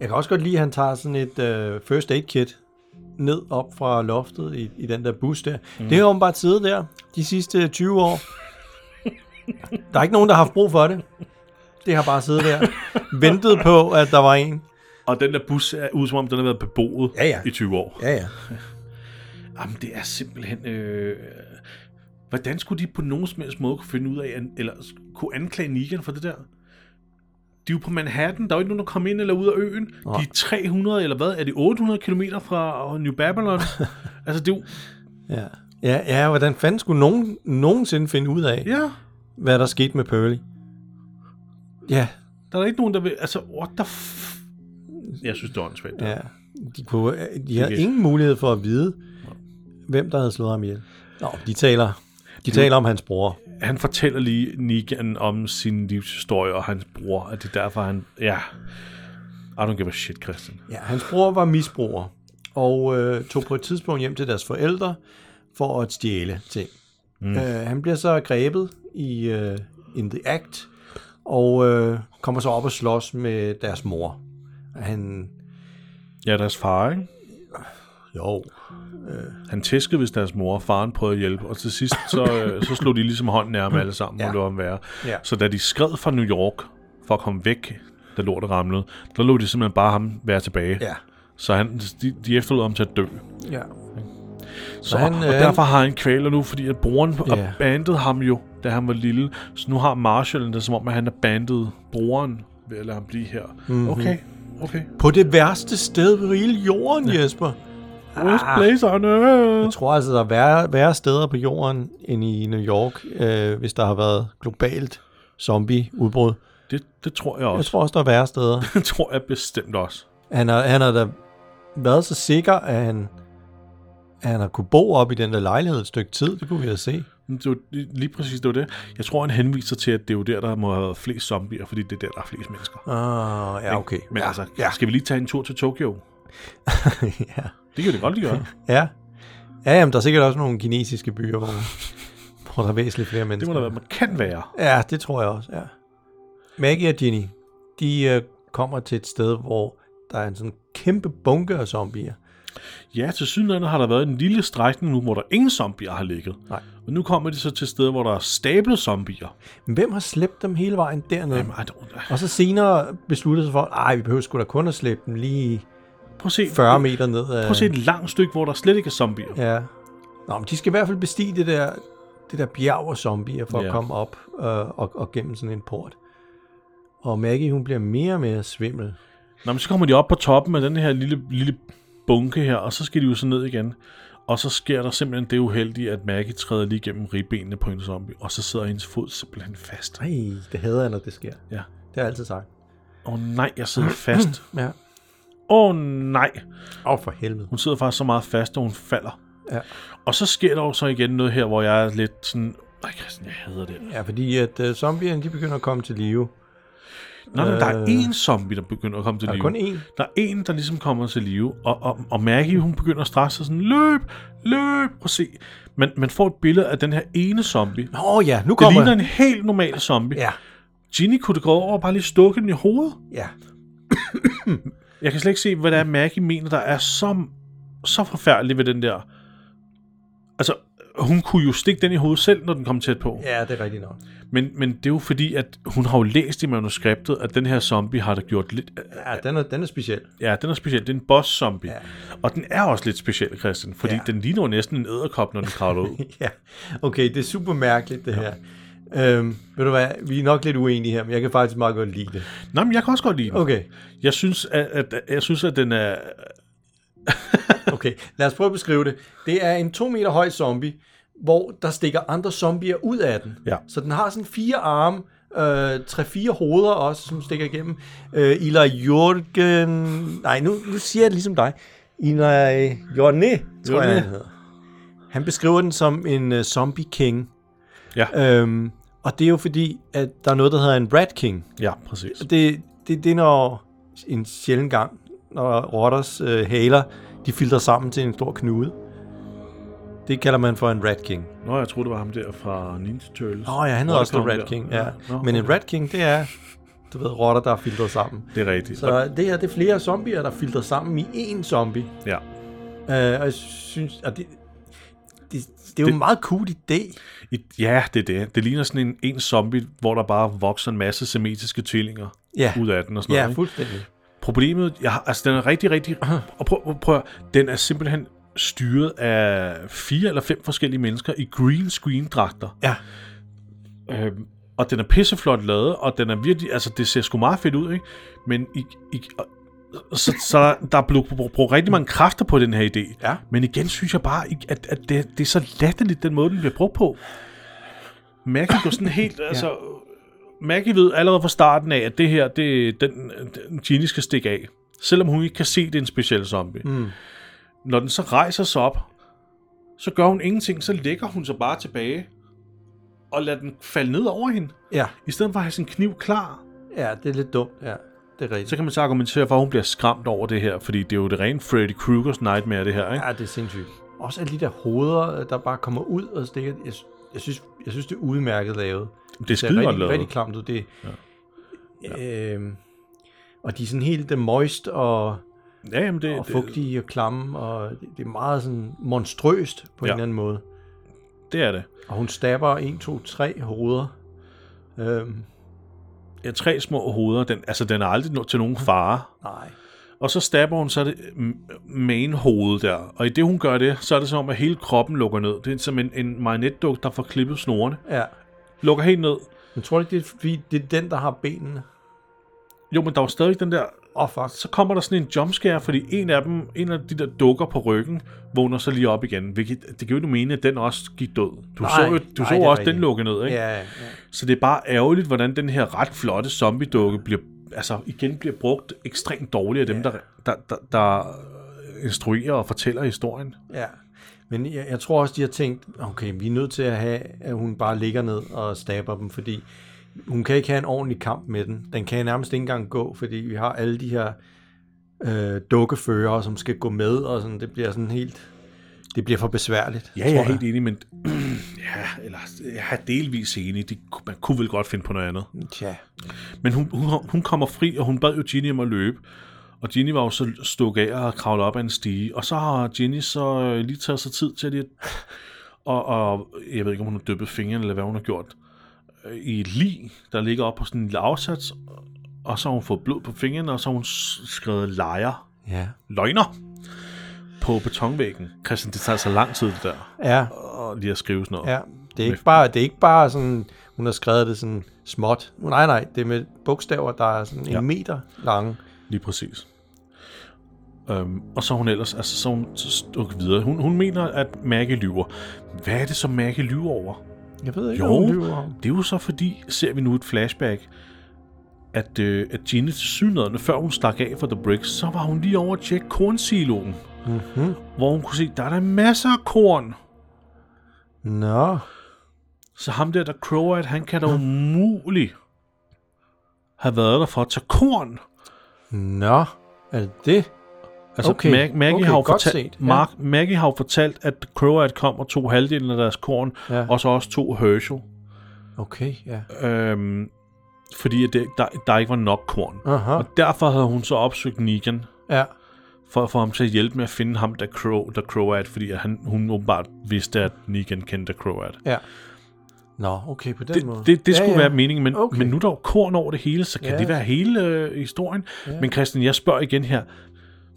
Speaker 2: Jeg kan også godt lide, at han tager sådan et øh, first aid kit ned op fra loftet i, i den der bus der. Mm. Det har åbenbart siddet der de sidste 20 år. Der er ikke nogen, der har haft brug for det. Det har bare siddet der. Ventet på, at der var en.
Speaker 1: Og den der bus er ud som om, den har været beboet
Speaker 2: Ja, ja.
Speaker 1: i 20 år.
Speaker 2: Ja, ja.
Speaker 1: Jamen, det er simpelthen... Øh, hvordan skulle de på nogen som helst måde kunne finde ud af, an, eller s- kunne anklage Negan for det der? De er jo på Manhattan, der er jo ikke nogen, der kommer ind eller ud af øen. Nej. De er 300, eller hvad? Er det 800 km fra øh, New Babylon? altså, det er jo...
Speaker 2: Ja, ja, ja hvordan fanden skulle nogen nogensinde finde ud af,
Speaker 1: Ja,
Speaker 2: hvad der skete med Pearly? Ja,
Speaker 1: der er da ikke nogen, der vil... Altså, what the f... Jeg synes, det er åndssvagt. Ja.
Speaker 2: ja. De, kunne, øh, de havde ingen mulighed for at vide, hvem der havde slået ham ihjel. Nå, de taler, de taler om hans bror.
Speaker 1: Han fortæller lige Negan om sin livshistorie og hans bror, og det er derfor, han... Ja. I don't give a shit, Christian.
Speaker 2: Ja, hans bror var misbruger, og øh, tog på et tidspunkt hjem til deres forældre for at stjæle ting. Mm. Øh, han bliver så grebet i øh, In the Act, og øh, kommer så op og slås med deres mor. Han,
Speaker 1: Ja, deres far, ikke?
Speaker 2: jo,
Speaker 1: Han tæskede hvis deres mor og faren prøvede at hjælpe, og til sidst så, øh, så slog de ligesom hånden nærme alle sammen, ja.
Speaker 2: Ja.
Speaker 1: må det om være.
Speaker 2: Ja.
Speaker 1: Så da de skred fra New York for at komme væk, da lortet ramlede, der lå de simpelthen bare ham være tilbage.
Speaker 2: ja.
Speaker 1: Så han, de, de efterlod ham til at dø.
Speaker 2: Ja.
Speaker 1: Så,
Speaker 2: han,
Speaker 1: han, og
Speaker 2: øh,
Speaker 1: derfor har han kvaler nu, fordi at broren
Speaker 2: Ja.
Speaker 1: yeah. bandede ham jo, da han var lille. Så nu har Marshallen det, som om at han er bandet broren ved at lade ham blive her.
Speaker 2: Mhm.
Speaker 1: Mm-hmm. Okay, okay.
Speaker 2: På det værste sted på hele jorden, ja. Jesper. Ah.
Speaker 1: Worst place on earth.
Speaker 2: Jeg tror altså, der er værre, værre steder på jorden end i New York, øh, hvis der har været globalt zombie-udbrud.
Speaker 1: Det, det tror jeg
Speaker 2: Jeg
Speaker 1: også.
Speaker 2: tror også, der er værre steder.
Speaker 1: Det tror jeg bestemt også.
Speaker 2: Han har, han har da været så sikker, at han, at han har kunne bo op i den der lejlighed et stykke tid. Det kunne vi da se.
Speaker 1: Men Det var, lige lige præcis det var det. Jeg tror, han henviser til, at det er jo der, der må have været flest zombier, fordi det er der, der er flest mennesker.
Speaker 2: Ah, ja, okay.
Speaker 1: Men
Speaker 2: ja,
Speaker 1: altså,
Speaker 2: ja.
Speaker 1: skal vi lige tage en tur til Tokyo?
Speaker 2: ja.
Speaker 1: Det kan det godt lige gøre.
Speaker 2: ja. Ja, jamen, der er sikkert også nogle kinesiske byer, hvor, hvor der er væsentligt flere
Speaker 1: Det
Speaker 2: mennesker.
Speaker 1: må da være, man kan være.
Speaker 2: Ja, det tror jeg også, ja. Maggie og Ginny, de øh, kommer til et sted, hvor der er en sådan kæmpe bunke af zombier.
Speaker 1: Ja, til sydlandet har der været en lille strækning nu, hvor der ingen zombier har ligget.
Speaker 2: Nej.
Speaker 1: Og nu kommer de så til steder, hvor der er stablet zombier.
Speaker 2: Men hvem har slæbt dem hele vejen derned?
Speaker 1: Jamen,
Speaker 2: Jamen.
Speaker 1: ej, dog-
Speaker 2: Og så senere besluttede sig for, nej, vi behøver sgu da kun at slæbe dem lige
Speaker 1: prøv at se,
Speaker 2: 40 meter ned. Af...
Speaker 1: prøv at se et langt stykke, hvor der slet ikke er zombier.
Speaker 2: Ja. Nå, men de skal i hvert fald bestige det der, det der bjerg af zombier for ja.
Speaker 1: Ja.
Speaker 2: at komme op øh, og, og gennem sådan en port. Og Maggie, hun bliver mere og mere svimmel.
Speaker 1: Nå, men så kommer de op på toppen af den her lille, lille bunke her, og så skal de jo så ned igen. Og så sker der simpelthen det uheldige, at Maggie træder lige gennem ribbenene på hendes zombie, og så sidder hendes fod simpelthen fast.
Speaker 2: Ej, det hader jeg, når det sker.
Speaker 1: Ja.
Speaker 2: Det har jeg altid sagt.
Speaker 1: Åh oh, nej, jeg sidder fast.
Speaker 2: Ja.
Speaker 1: Åh oh, nej.
Speaker 2: Åh, for helvede.
Speaker 1: Hun sidder faktisk så meget fast, at hun falder.
Speaker 2: Ja.
Speaker 1: Og så sker der jo så igen noget her, hvor jeg er lidt sådan... Ej, Christian, jeg hader det.
Speaker 2: Ja, fordi at uh, zombierne, de begynder at komme til live.
Speaker 1: Nå, men der er
Speaker 2: Øh.
Speaker 1: én zombie, der begynder at komme til
Speaker 2: Der er
Speaker 1: live.
Speaker 2: kun én.
Speaker 1: Der er en, der ligesom kommer til live, og, og, og Maggie, hun begynder at stresse sig sådan, løb, løb, prøv at se. Man, man får et billede af den her ene zombie. Det
Speaker 2: Nå ja, nu kommer
Speaker 1: ligner en helt normal zombie.
Speaker 2: Ja,
Speaker 1: Ginny kunne det gå over og bare lige stukke den i hovedet.
Speaker 2: ja.
Speaker 1: Jeg kan slet ikke se, hvad der er, Maggie mener, der er så, så forfærdeligt ved den der. Altså, hun kunne jo stikke den i hovedet selv, når den kom tæt på.
Speaker 2: Ja, det er rigtigt nok.
Speaker 1: Men, men det er jo fordi, at hun har jo læst i manuskriptet, at den her zombie har da gjort lidt...
Speaker 2: Ja, den er, den er speciel.
Speaker 1: Ja, den er speciel. Det er en boss-zombie. Ja.
Speaker 2: Ja.
Speaker 1: Og den er også lidt speciel, Christian, fordi ja.
Speaker 2: Ja.
Speaker 1: den ligner jo næsten en æderkop, når den kravler ud.
Speaker 2: ja, okay, det er super mærkeligt, det her. Øhm, ved du hvad, vi er nok lidt uenige her, men jeg kan faktisk meget godt lide det.
Speaker 1: Nå, men jeg kan også godt lide den.
Speaker 2: Okay,
Speaker 1: Jeg synes, at, at, jeg synes, at den er...
Speaker 2: Okay, lad os prøve at beskrive det. Det er en 2 meter høj zombie, hvor der stikker andre zombier ud af den.
Speaker 1: Ja.
Speaker 2: Så den har sådan fire arme, øh, tre-fire hoveder også, som stikker igennem. Øh, Ila Jorgen... Nej, nu, nu siger jeg det ligesom dig. Ila Jorne, tror jeg,
Speaker 1: Jorne.
Speaker 2: han hedder. Han beskriver den som en øh, zombie king.
Speaker 1: Ja,
Speaker 2: Øhm, og det er jo fordi, at der er noget, der hedder en rat king.
Speaker 1: ja præcis.
Speaker 2: Det, det, det er når en sjælden gang, når rotters øh, haler, de filtrer sammen til en stor knude. Det kalder man for en rat king.
Speaker 1: Nå, jeg troede, det var ham der fra Ninja Turtles.
Speaker 2: Åh oh, ja, han
Speaker 1: Rotter
Speaker 2: hedder også The
Speaker 1: kom
Speaker 2: Rat
Speaker 1: der.
Speaker 2: King. Ja.
Speaker 1: Nå,
Speaker 2: Men øh, en
Speaker 1: okay.
Speaker 2: Rat King, det er, du ved, rotter, der er filtret sammen.
Speaker 1: Det er rigtigt. Så...
Speaker 2: Så det her, det er flere zombier, der er filtret sammen i én zombie.
Speaker 1: Ja.
Speaker 2: Uh, og jeg synes, at det, det, det er jo
Speaker 1: Det-
Speaker 2: en meget cool idé.
Speaker 1: I, ja, det er det. Det ligner sådan en, en zombie, hvor der bare vokser en masse semitiske tvillinger
Speaker 2: Ja.
Speaker 1: ud af den og sådan
Speaker 2: Ja,
Speaker 1: noget. ikke?
Speaker 2: fuldstændig.
Speaker 1: Problemet, jeg, har- altså den er rigtig, rigtig... Og prøv, prøv, prøv at høre, den er simpelthen styret af fire eller fem forskellige mennesker i green screen-dragter.
Speaker 2: Ja.
Speaker 1: Øhm, og den er pisseflot lavet, og den er virkelig... Altså, det ser sgu meget fedt ud, ikke? Men I, I, og- så, så der- der er blevet brugt, brugt rigtig mange kræfter på den her idé.
Speaker 2: Ja.
Speaker 1: Men igen synes jeg bare, ikke, at, at det, det er så latterligt, den måde, den bliver brugt på. Maggie går sådan helt... Altså, Maggie ved allerede fra starten af, at det her, det er den, den Ginny skal stikke af. Selvom hun ikke kan se, det er en speciel zombie. Mm. Når den så rejser sig op, så gør hun ingenting, så lægger hun sig bare tilbage og lader den falde ned over hende.
Speaker 2: Ja.
Speaker 1: I stedet for at have sin kniv klar,
Speaker 2: ja, det er lidt dumt. Ja, det er rigtigt.
Speaker 1: så kan man så argumentere for, at hun bliver skræmt over det her, fordi det er jo det rene Freddy Krueger's nightmare, det her, ikke?
Speaker 2: Ja, det er sindssygt. Også alle de der hoveder, der bare kommer ud og stikker. Jeg, sy- jeg, synes, jeg synes, det er udmærket lavet.
Speaker 1: Det er skide godt
Speaker 2: rigtig,
Speaker 1: lavet.
Speaker 2: rigtig klamt ud. Det, ja. øhm, og de er sådan helt øh, moist og,
Speaker 1: Ja, jamen det,
Speaker 2: og
Speaker 1: det,
Speaker 2: fugtige og klamme, og det, det er meget sådan monstrøst på ja.
Speaker 1: Ja.
Speaker 2: en eller anden måde.
Speaker 1: det er det.
Speaker 2: Og hun stabber 1, 2, 3 hoveder. Øhm,
Speaker 1: Ja, tre små hoveder, den, altså den er aldrig no- til nogen fare.
Speaker 2: nej.
Speaker 1: Og så stabber hun så det m- main hoved der. Og i det hun gør det, så er det som om, at hele kroppen lukker ned. Det er som en, en marionetduk, der får klippet snorene.
Speaker 2: Ja.
Speaker 1: Lukker helt ned.
Speaker 2: Men tror du ikke, det er, fordi det er den, der har benene?
Speaker 1: Jo, men der var stadig den der...
Speaker 2: Åh, oh, fuck.
Speaker 1: Så kommer der sådan en jumpscare, fordi en af dem, en af de der dukker på ryggen, vågner så lige op igen. Hvilket, det giver jo ikke mene, at den også gik død. Du
Speaker 2: Nej,
Speaker 1: så jo du
Speaker 2: nej,
Speaker 1: så
Speaker 2: det er
Speaker 1: også
Speaker 2: rigtigt.
Speaker 1: den lukke ned, ikke?
Speaker 2: Ja, ja.
Speaker 1: Så det er bare ærgerligt, hvordan den her ret flotte zombie-dukke bliver, altså igen bliver brugt ekstremt dårligt af dem, der, der, der, der instruerer og fortæller historien.
Speaker 2: Ja, men jeg, jeg tror også, de har tænkt, okay, vi er nødt til at have, at hun bare ligger ned og stabber dem, fordi hun kan ikke have en ordentlig kamp med den. Den kan nærmest ikke engang gå, fordi vi har alle de her øh, dukkefører, som skal gå med, og sådan, det bliver sådan helt, det bliver for besværligt.
Speaker 1: Ja,
Speaker 2: tror
Speaker 1: jeg er helt enig, men ja, eller, jeg er delvis enig. De, man kunne vel godt finde på noget andet.
Speaker 2: Tja.
Speaker 1: Men hun, hun, hun kommer fri, og hun bad jo Ginny om at løbe. Og Ginny var jo så stukket af og kravlet op ad en stige. Og så har Ginny så øh, lige taget sig tid til lige at... Og, og jeg ved ikke, om hun har dyppet fingrene, eller hvad hun har gjort. øh, I et lig, der ligger op på sådan en lille afsats. Og så har hun fået blod på fingrene, og så har hun s- skrevet lejer.
Speaker 2: Ja.
Speaker 1: Løgner! På betonvæggen. Christian, det tager så lang tid, det der.
Speaker 2: Ja,
Speaker 1: Og lige at skrive sådan noget.
Speaker 2: ja. Det er, ikke bare, det er ikke bare sådan, hun har skrevet det sådan småt. Nej, nej, det er med bogstaver, der er sådan en
Speaker 1: Ja.
Speaker 2: meter lange.
Speaker 1: Lige præcis. Øhm, og så er hun ellers, altså så er hun stukket videre. Hun, hun mener, at Maggie lyver. Hvad er det, som Maggie lyver over?
Speaker 2: Jeg ved ikke,
Speaker 1: Jo.
Speaker 2: hvad hun lyver om.
Speaker 1: Det er jo så fordi, ser vi nu et flashback, at, øh, at Ginny til synligheden, før hun stak af for The Bricks, så var hun lige over at tjekke kornsiloen. Mm-hmm.
Speaker 2: Mhm.
Speaker 1: Hvor hun kunne se, der er der masser af korn.
Speaker 2: Nå,
Speaker 1: Så ham der, der crower, at han kan da umuligt have været der for at tage korn.
Speaker 2: nå, er det det?
Speaker 1: Altså, okay. Mag- Maggie, okay, har jo
Speaker 2: godt
Speaker 1: fortalt,
Speaker 2: set. Ja.
Speaker 1: Mark, Maggie har jo fortalt, at Croat kom og tog halvdelen af deres korn,
Speaker 2: Ja.
Speaker 1: ja. og så også to Herschel,
Speaker 2: Okay, ja.
Speaker 1: øhm, fordi at det, der, der ikke var nok korn.
Speaker 2: Aha,
Speaker 1: Og derfor havde hun så opsøgt Negan,
Speaker 2: ja.
Speaker 1: for at få ham til at hjælpe med at finde ham, der, Crow, der Croat, fordi at han, hun åbenbart vidste, at Negan kendte Croat.
Speaker 2: ja. Nå, okay, på den
Speaker 1: Det,
Speaker 2: måde.
Speaker 1: det, det
Speaker 2: ja,
Speaker 1: skulle
Speaker 2: ja.
Speaker 1: være meningen, men,
Speaker 2: Okay.
Speaker 1: okay. men nu er der jo korn over det hele, så kan
Speaker 2: Ja.
Speaker 1: det være hele øh, historien? Men Christian, jeg spørger igen her.
Speaker 2: Hmm.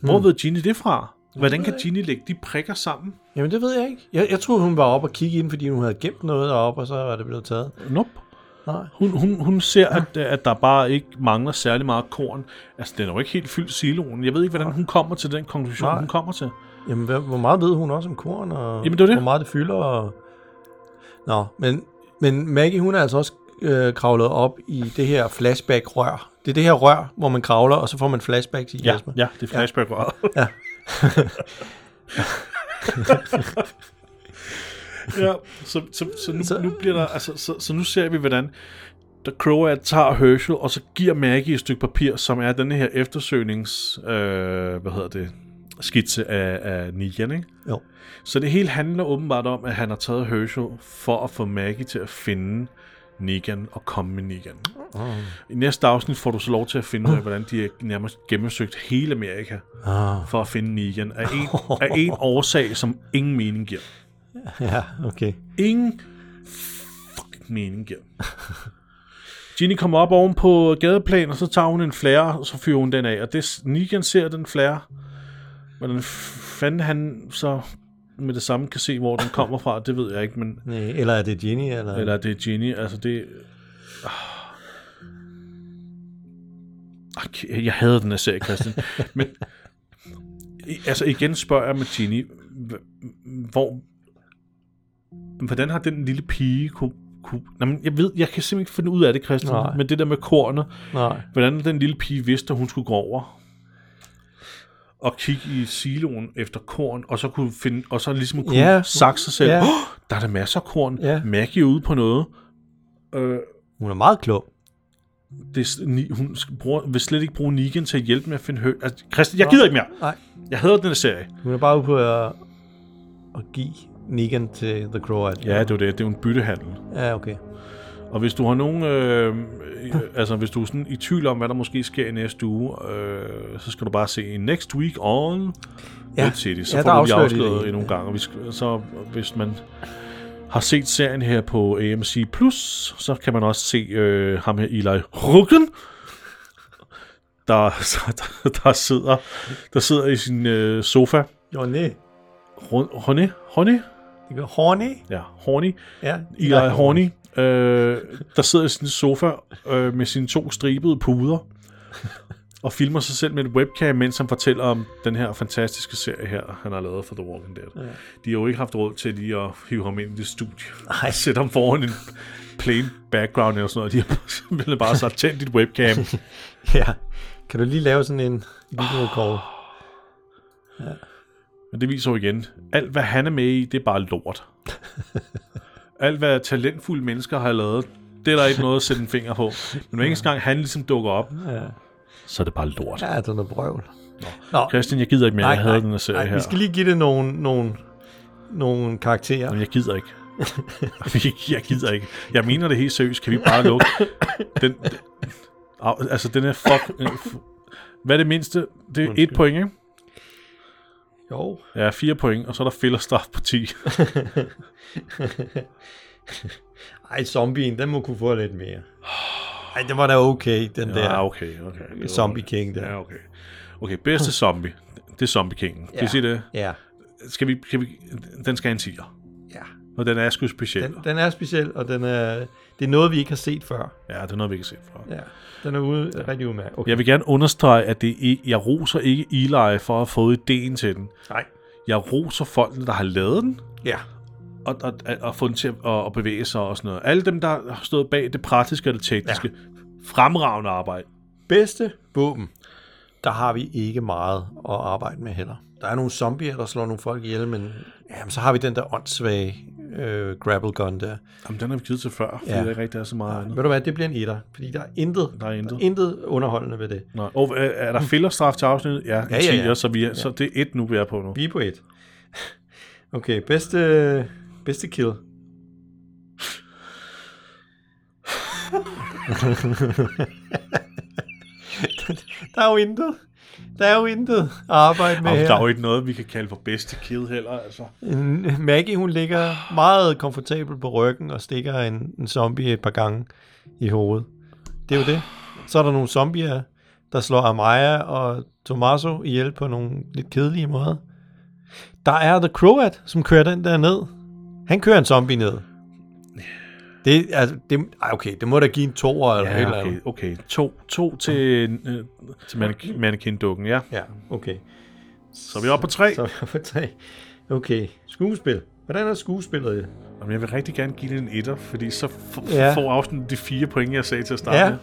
Speaker 1: Hvor ved Ginny det fra? Hvordan kan Ginny lægge de prikker sammen?
Speaker 2: Jamen, det ved jeg ikke. Jeg, jeg troede, hun var oppe og kigge ind, fordi hun havde gemt noget deroppe, og så var det blevet taget.
Speaker 1: Nope.
Speaker 2: Nej.
Speaker 1: Hun, hun, hun ser, at, at der bare ikke mangler særlig meget korn. Altså, den er jo ikke helt fyldt siloen. Jeg ved ikke, hvordan hun kommer til den konklusion,
Speaker 2: Nej.
Speaker 1: hun kommer til.
Speaker 2: Jamen, hvad, hvor meget ved hun også om korn, og
Speaker 1: Jamen, det er det.
Speaker 2: hvor meget det fylder? Og... Nå, men, men Maggie, hun er altså også øh, kravlet op i det her flashback-rør. Det er det her rør, hvor man kravler, og så får man flashbacks i
Speaker 1: Ja,
Speaker 2: Jesper.
Speaker 1: ja det er flashback ja.
Speaker 2: Ja.
Speaker 1: ja, så, så, så, nu, så, nu bliver der, altså, så, så nu ser vi, hvordan der Crow tager Herschel, og så giver Maggie et stykke papir, som er den her eftersøgnings, øh, hvad hedder det, skitse af, af Nian, ikke?
Speaker 2: Jo.
Speaker 1: Så det hele handler åbenbart om, at han har taget Herschel for at få Maggie til at finde Negan og komme med Negan. Oh. I næste afsnit får du så lov til at finde ud af, hvordan de har nærmest gennemsøgt hele Amerika oh. for at finde Negan af en, af en årsag, som ingen mening giver.
Speaker 2: Ja, okay.
Speaker 1: Ingen fucking mening giver. Ginny kommer op oven på gadeplan, og så tager hun en flare, og så fyrer hun den af. Og det, Negan ser den flare, hvordan fanden han så med det samme kan se, hvor den kommer fra, det ved jeg ikke, men
Speaker 2: Nej, Eller er det Ginny? Eller?
Speaker 1: eller er det er Ginny, altså det... Ah. Ah, Jeg havde den her serie, Christian. Men, i- altså igen spørger jeg med Ginny, hv- hvor... Hvordan har den lille pige kunne... kunne jamen, jeg ved, jeg kan simpelthen ikke finde ud af det, Christian.
Speaker 2: Nej.
Speaker 1: Men det der med kornet,
Speaker 2: Nej.
Speaker 1: hvordan den lille pige vidste, at hun skulle gå over og kigge i siloen efter korn, og så kunne finde, og så ligesom kunne
Speaker 2: Ja.
Speaker 1: yeah. sakse sig selv.
Speaker 2: Ja.
Speaker 1: Yeah. Oh, der er der masser af korn.
Speaker 2: Ja.
Speaker 1: Maggie er ude på noget. Øh,
Speaker 2: Hun er meget klog.
Speaker 1: det, er s- ni, hun sk- bruger, vil slet ikke bruge Negan til at hjælpe med at finde hø... Altså, Christian, jeg gider ikke mere.
Speaker 2: Nej.
Speaker 1: Jeg hader den her serie.
Speaker 2: Hun er bare ude på at, at give Negan til The Crow. at-
Speaker 1: Ja, det er jo det. Det er jo en byttehandel.
Speaker 2: Ja, okay.
Speaker 1: Og hvis du har nogen, øh, øh, altså hvis du er sådan i tvivl om, hvad der måske sker i næste uge, øh, så skal du bare se Next Week on ja.
Speaker 2: Ja.
Speaker 1: Red City. Så
Speaker 2: Ja,
Speaker 1: ja,
Speaker 2: der
Speaker 1: får du lige
Speaker 2: afslører de det
Speaker 1: afsløret
Speaker 2: i-
Speaker 1: endnu en gang. Og vi skal, så hvis man har set serien her på AMC+, Plus, så kan man også se øh, ham her, Eli Ruggen, der, der, der, sidder, der sidder i sin øh, sofa.
Speaker 2: Jo, nej.
Speaker 1: Ron- Honey? Honey?
Speaker 2: Det gør Horny.
Speaker 1: Ja, Horny.
Speaker 2: Ja.
Speaker 1: Eli
Speaker 2: Ja.
Speaker 1: Horny, øh, der sidder i sin sofa øh, med sine to stribede puder og filmer sig selv med et webcam, mens han fortæller om den her fantastiske serie her, han har lavet for The Walking Dead. Ja. De har jo ikke haft råd til lige at hive ham ind i det studie. Nej. Sætte ham foran en plain background eller sådan noget. De har simpelthen bare sagt, tænd dit webcam.
Speaker 2: Ja. Kan du lige lave sådan en
Speaker 1: Ah.
Speaker 2: video call?
Speaker 1: Men det viser jo igen, alt hvad han er med i, det er bare lort. alt hvad talentfulde mennesker har lavet, det er der ikke noget at sætte en finger på. Men hver eneste gang han ligesom dukker op, ja. så er det bare lort.
Speaker 2: Ja, det er noget brøvl. Nå,
Speaker 1: Christian, jeg gider ikke mere, nej, jeg havde den her serie
Speaker 2: nej,
Speaker 1: her.
Speaker 2: vi skal lige give det nogle, nogle, nogle karakterer.
Speaker 1: Men jeg gider ikke. jeg gider ikke. Jeg mener det helt seriøst. Kan vi bare lukke den... Au, Altså, den er fuck... Hvad er det mindste? Det er et point, ikke?
Speaker 2: Jo.
Speaker 1: Ja, fire point, og så er der fælderstraf på 10.
Speaker 2: Ej, zombien, den må kunne få lidt mere. Ej, den var da okay, den der.
Speaker 1: Ja, Ah, okay, okay. Det var-
Speaker 2: Zombie King der.
Speaker 1: Ja, okay. Okay, bedste zombie. Det er Zombie King. Kan vi sige det?
Speaker 2: Ja,
Speaker 1: Skal vi, kan vi, den skal have en tiger.
Speaker 2: ja.
Speaker 1: Og den er sgu speciel.
Speaker 2: Den, den er speciel, og den er, det er noget, vi ikke har set før.
Speaker 1: Ja, det er noget, vi ikke har set før.
Speaker 2: Ja, den er ude, ja. rigtig umærket. Okay.
Speaker 1: Jeg vil gerne understrege, at det er, jeg roser ikke Eli for at have fået ideen til den.
Speaker 2: Nej.
Speaker 1: Jeg roser folkene, der har lavet den,
Speaker 2: Ja.
Speaker 1: og, og, og få den til at, at bevæge sig og sådan noget. Alle dem, der har stået bag det praktiske og det tekniske. Ja. Fremragende arbejde.
Speaker 2: Bedste våben, der har vi ikke meget at arbejde med heller. Der er nogle zombier, der slår nogle folk ihjel, men jamen, så har vi den der åndssvage øh, grapple gun der.
Speaker 1: Jamen, den har vi givet til før, fordi
Speaker 2: Ja.
Speaker 1: ja. der ikke rigtig er så meget andet.
Speaker 2: Ved du hvad, det bliver en etter, fordi der er intet,
Speaker 1: Der er intet.
Speaker 2: Der er intet underholdende ved det.
Speaker 1: Nej. Og øh, er der fælderstraf til afsnittet? Ja, en
Speaker 2: ja, ja.
Speaker 1: tiger, så, vi er, så det er et nu, vi er på nu.
Speaker 2: Vi er på et. Okay, bedste, bedste kill. der er jo intet. Der er jo intet at arbejde med
Speaker 1: Jamen, der er
Speaker 2: her.
Speaker 1: jo ikke noget, vi kan kalde for bedste kill heller, altså.
Speaker 2: En- Maggie, hun ligger meget komfortabel på ryggen og stikker en, en zombie et par gange i hovedet. Det er jo det. Så er der nogle zombier, der slår Amaya og Tommaso ihjel på nogle lidt kedelige måder. Der er The Croat, som kører den der ned. Han kører en zombie ned. Det, altså, det, ej, okay, det må da give en toer eller et eller
Speaker 1: Ja, okay,
Speaker 2: andet.
Speaker 1: okay. To, to til, øh, til mannequin-dukken, ja.
Speaker 2: Ja, okay.
Speaker 1: Så er vi oppe på tre.
Speaker 2: Så er vi oppe på tre. Okay, skuespil. Hvordan er skuespillet?
Speaker 1: Jamen, jeg vil rigtig gerne give det en etter, fordi så f-
Speaker 2: Ja.
Speaker 1: ja. får afsnittet de fire point, jeg sagde til at starte.
Speaker 2: Ja.
Speaker 1: Ja.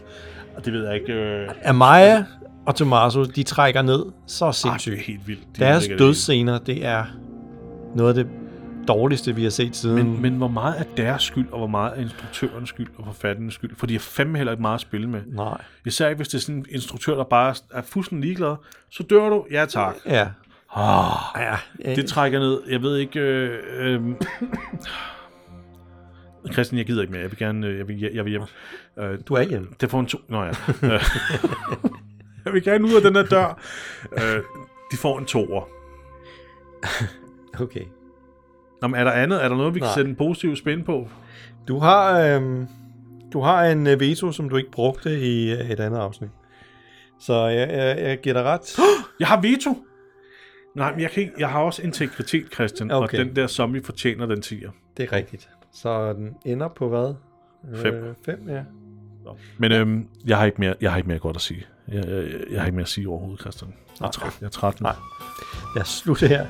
Speaker 1: Og det ved jeg ikke. Øh,
Speaker 2: Amaya og Tommaso, de trækker ned så sindssygt.
Speaker 1: det er helt vildt. De
Speaker 2: Deres
Speaker 1: ødelægger det
Speaker 2: dødsscener, det er noget af det dårligste, vi har set siden.
Speaker 1: hele. Men, men hvor meget er deres skyld, og hvor meget er instruktørens skyld og forfatterens skyld? For de har fandme heller ikke meget at spille med.
Speaker 2: Nej.
Speaker 1: Især ikke, hvis det er sådan en instruktør, der bare er fuldstændig ligeglad. Så dør du. Ja, tak.
Speaker 2: Ja. Oh, ja.
Speaker 1: Det trækker ned. Jeg ved ikke... Øh, øh, Christian, jeg gider ikke mere. Jeg vil gerne... øh, Jeg vil, jeg, jeg vil hjem. Øh,
Speaker 2: du er hjemme.
Speaker 1: Det får en to... Nå ja. Øh, jeg vil gerne ud af den her dør. Øh, de får en toer.
Speaker 2: Okay.
Speaker 1: Nå, men er der andet? Er der noget, vi kan
Speaker 2: Nej.
Speaker 1: sætte en positiv spin på?
Speaker 2: Du har, øhm, du har en øh, veto, som du ikke brugte i øh, et andet afsnit. Så jeg, jeg, jeg giver dig ret.
Speaker 1: Jeg har veto! Nej, men jeg, kan ikke, jeg har også integritet, Christian.
Speaker 2: Okay.
Speaker 1: Okay. Og den der zombie fortjener den tiger.
Speaker 2: det er rigtigt. Så den ender på hvad?
Speaker 1: Fem.
Speaker 2: Øh, fem, ja.
Speaker 1: Men øhm, jeg, har ikke mere, jeg har ikke mere godt at sige. Jeg, jeg, jeg har ikke mere at sige overhovedet, Christian. Jeg er træt, jeg er træt nu.
Speaker 2: Nej. Lad os slutte her.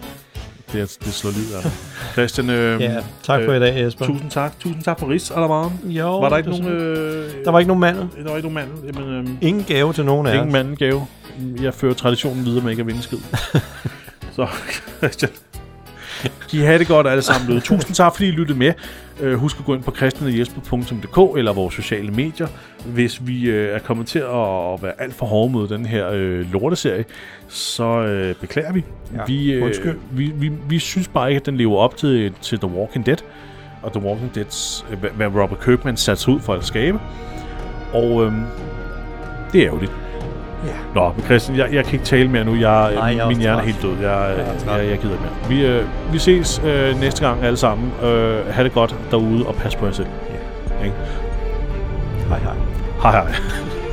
Speaker 1: Det, er- det slår livet af mig. Christian, øhm,
Speaker 2: Ja, tak for i dag, Jesper.
Speaker 1: tusind tak. Tusind tak for Ris, Alarm.
Speaker 2: Jo,
Speaker 1: var der ikke
Speaker 2: det er
Speaker 1: nogen... Øh,
Speaker 2: Der var ikke nogen mandel.
Speaker 1: der var ikke nogen mand. Jamen, øhm,
Speaker 2: Ingen gave til nogen af
Speaker 1: Ingen
Speaker 2: os.
Speaker 1: manden gave. Jeg fører traditionen videre med ikke at vinde en skid. Så, Christian. I har det godt alle sammen derude. Tusind tak, fordi I lyttede med. Øh, Husk at gå ind på kristenogjesper.dk eller vores sociale medier. Hvis vi øh, er kommet til at være alt for hårde mod den her øh, lorteserie, så øh, beklager vi.
Speaker 2: Ja,
Speaker 1: vi, øh,
Speaker 2: undskyld.
Speaker 1: vi, vi. Vi synes bare ikke, at den lever op til, til The Walking Dead. Og The Walking Dead's, øh, hvad- hvad Robert Kirkman satte sig ud for at skabe. Og øhm, det er ærgerligt.
Speaker 2: Ja.
Speaker 1: Nå, men Christian, jeg, jeg kan ikke tale mere nu. Jeg,
Speaker 2: Nej, jeg er
Speaker 1: Nej, min
Speaker 2: også
Speaker 1: hjerne er helt
Speaker 2: træt.
Speaker 1: død. Jeg,
Speaker 2: Jeg er
Speaker 1: jeg,
Speaker 2: træt.
Speaker 1: jeg, jeg gider ikke mere. Vi, øh, vi ses øh, næste gang alle sammen. Øh, ha' det godt derude, og pas på jer selv.
Speaker 2: Ja.
Speaker 1: Ikke?
Speaker 2: Hej, hej.
Speaker 1: Hej hej.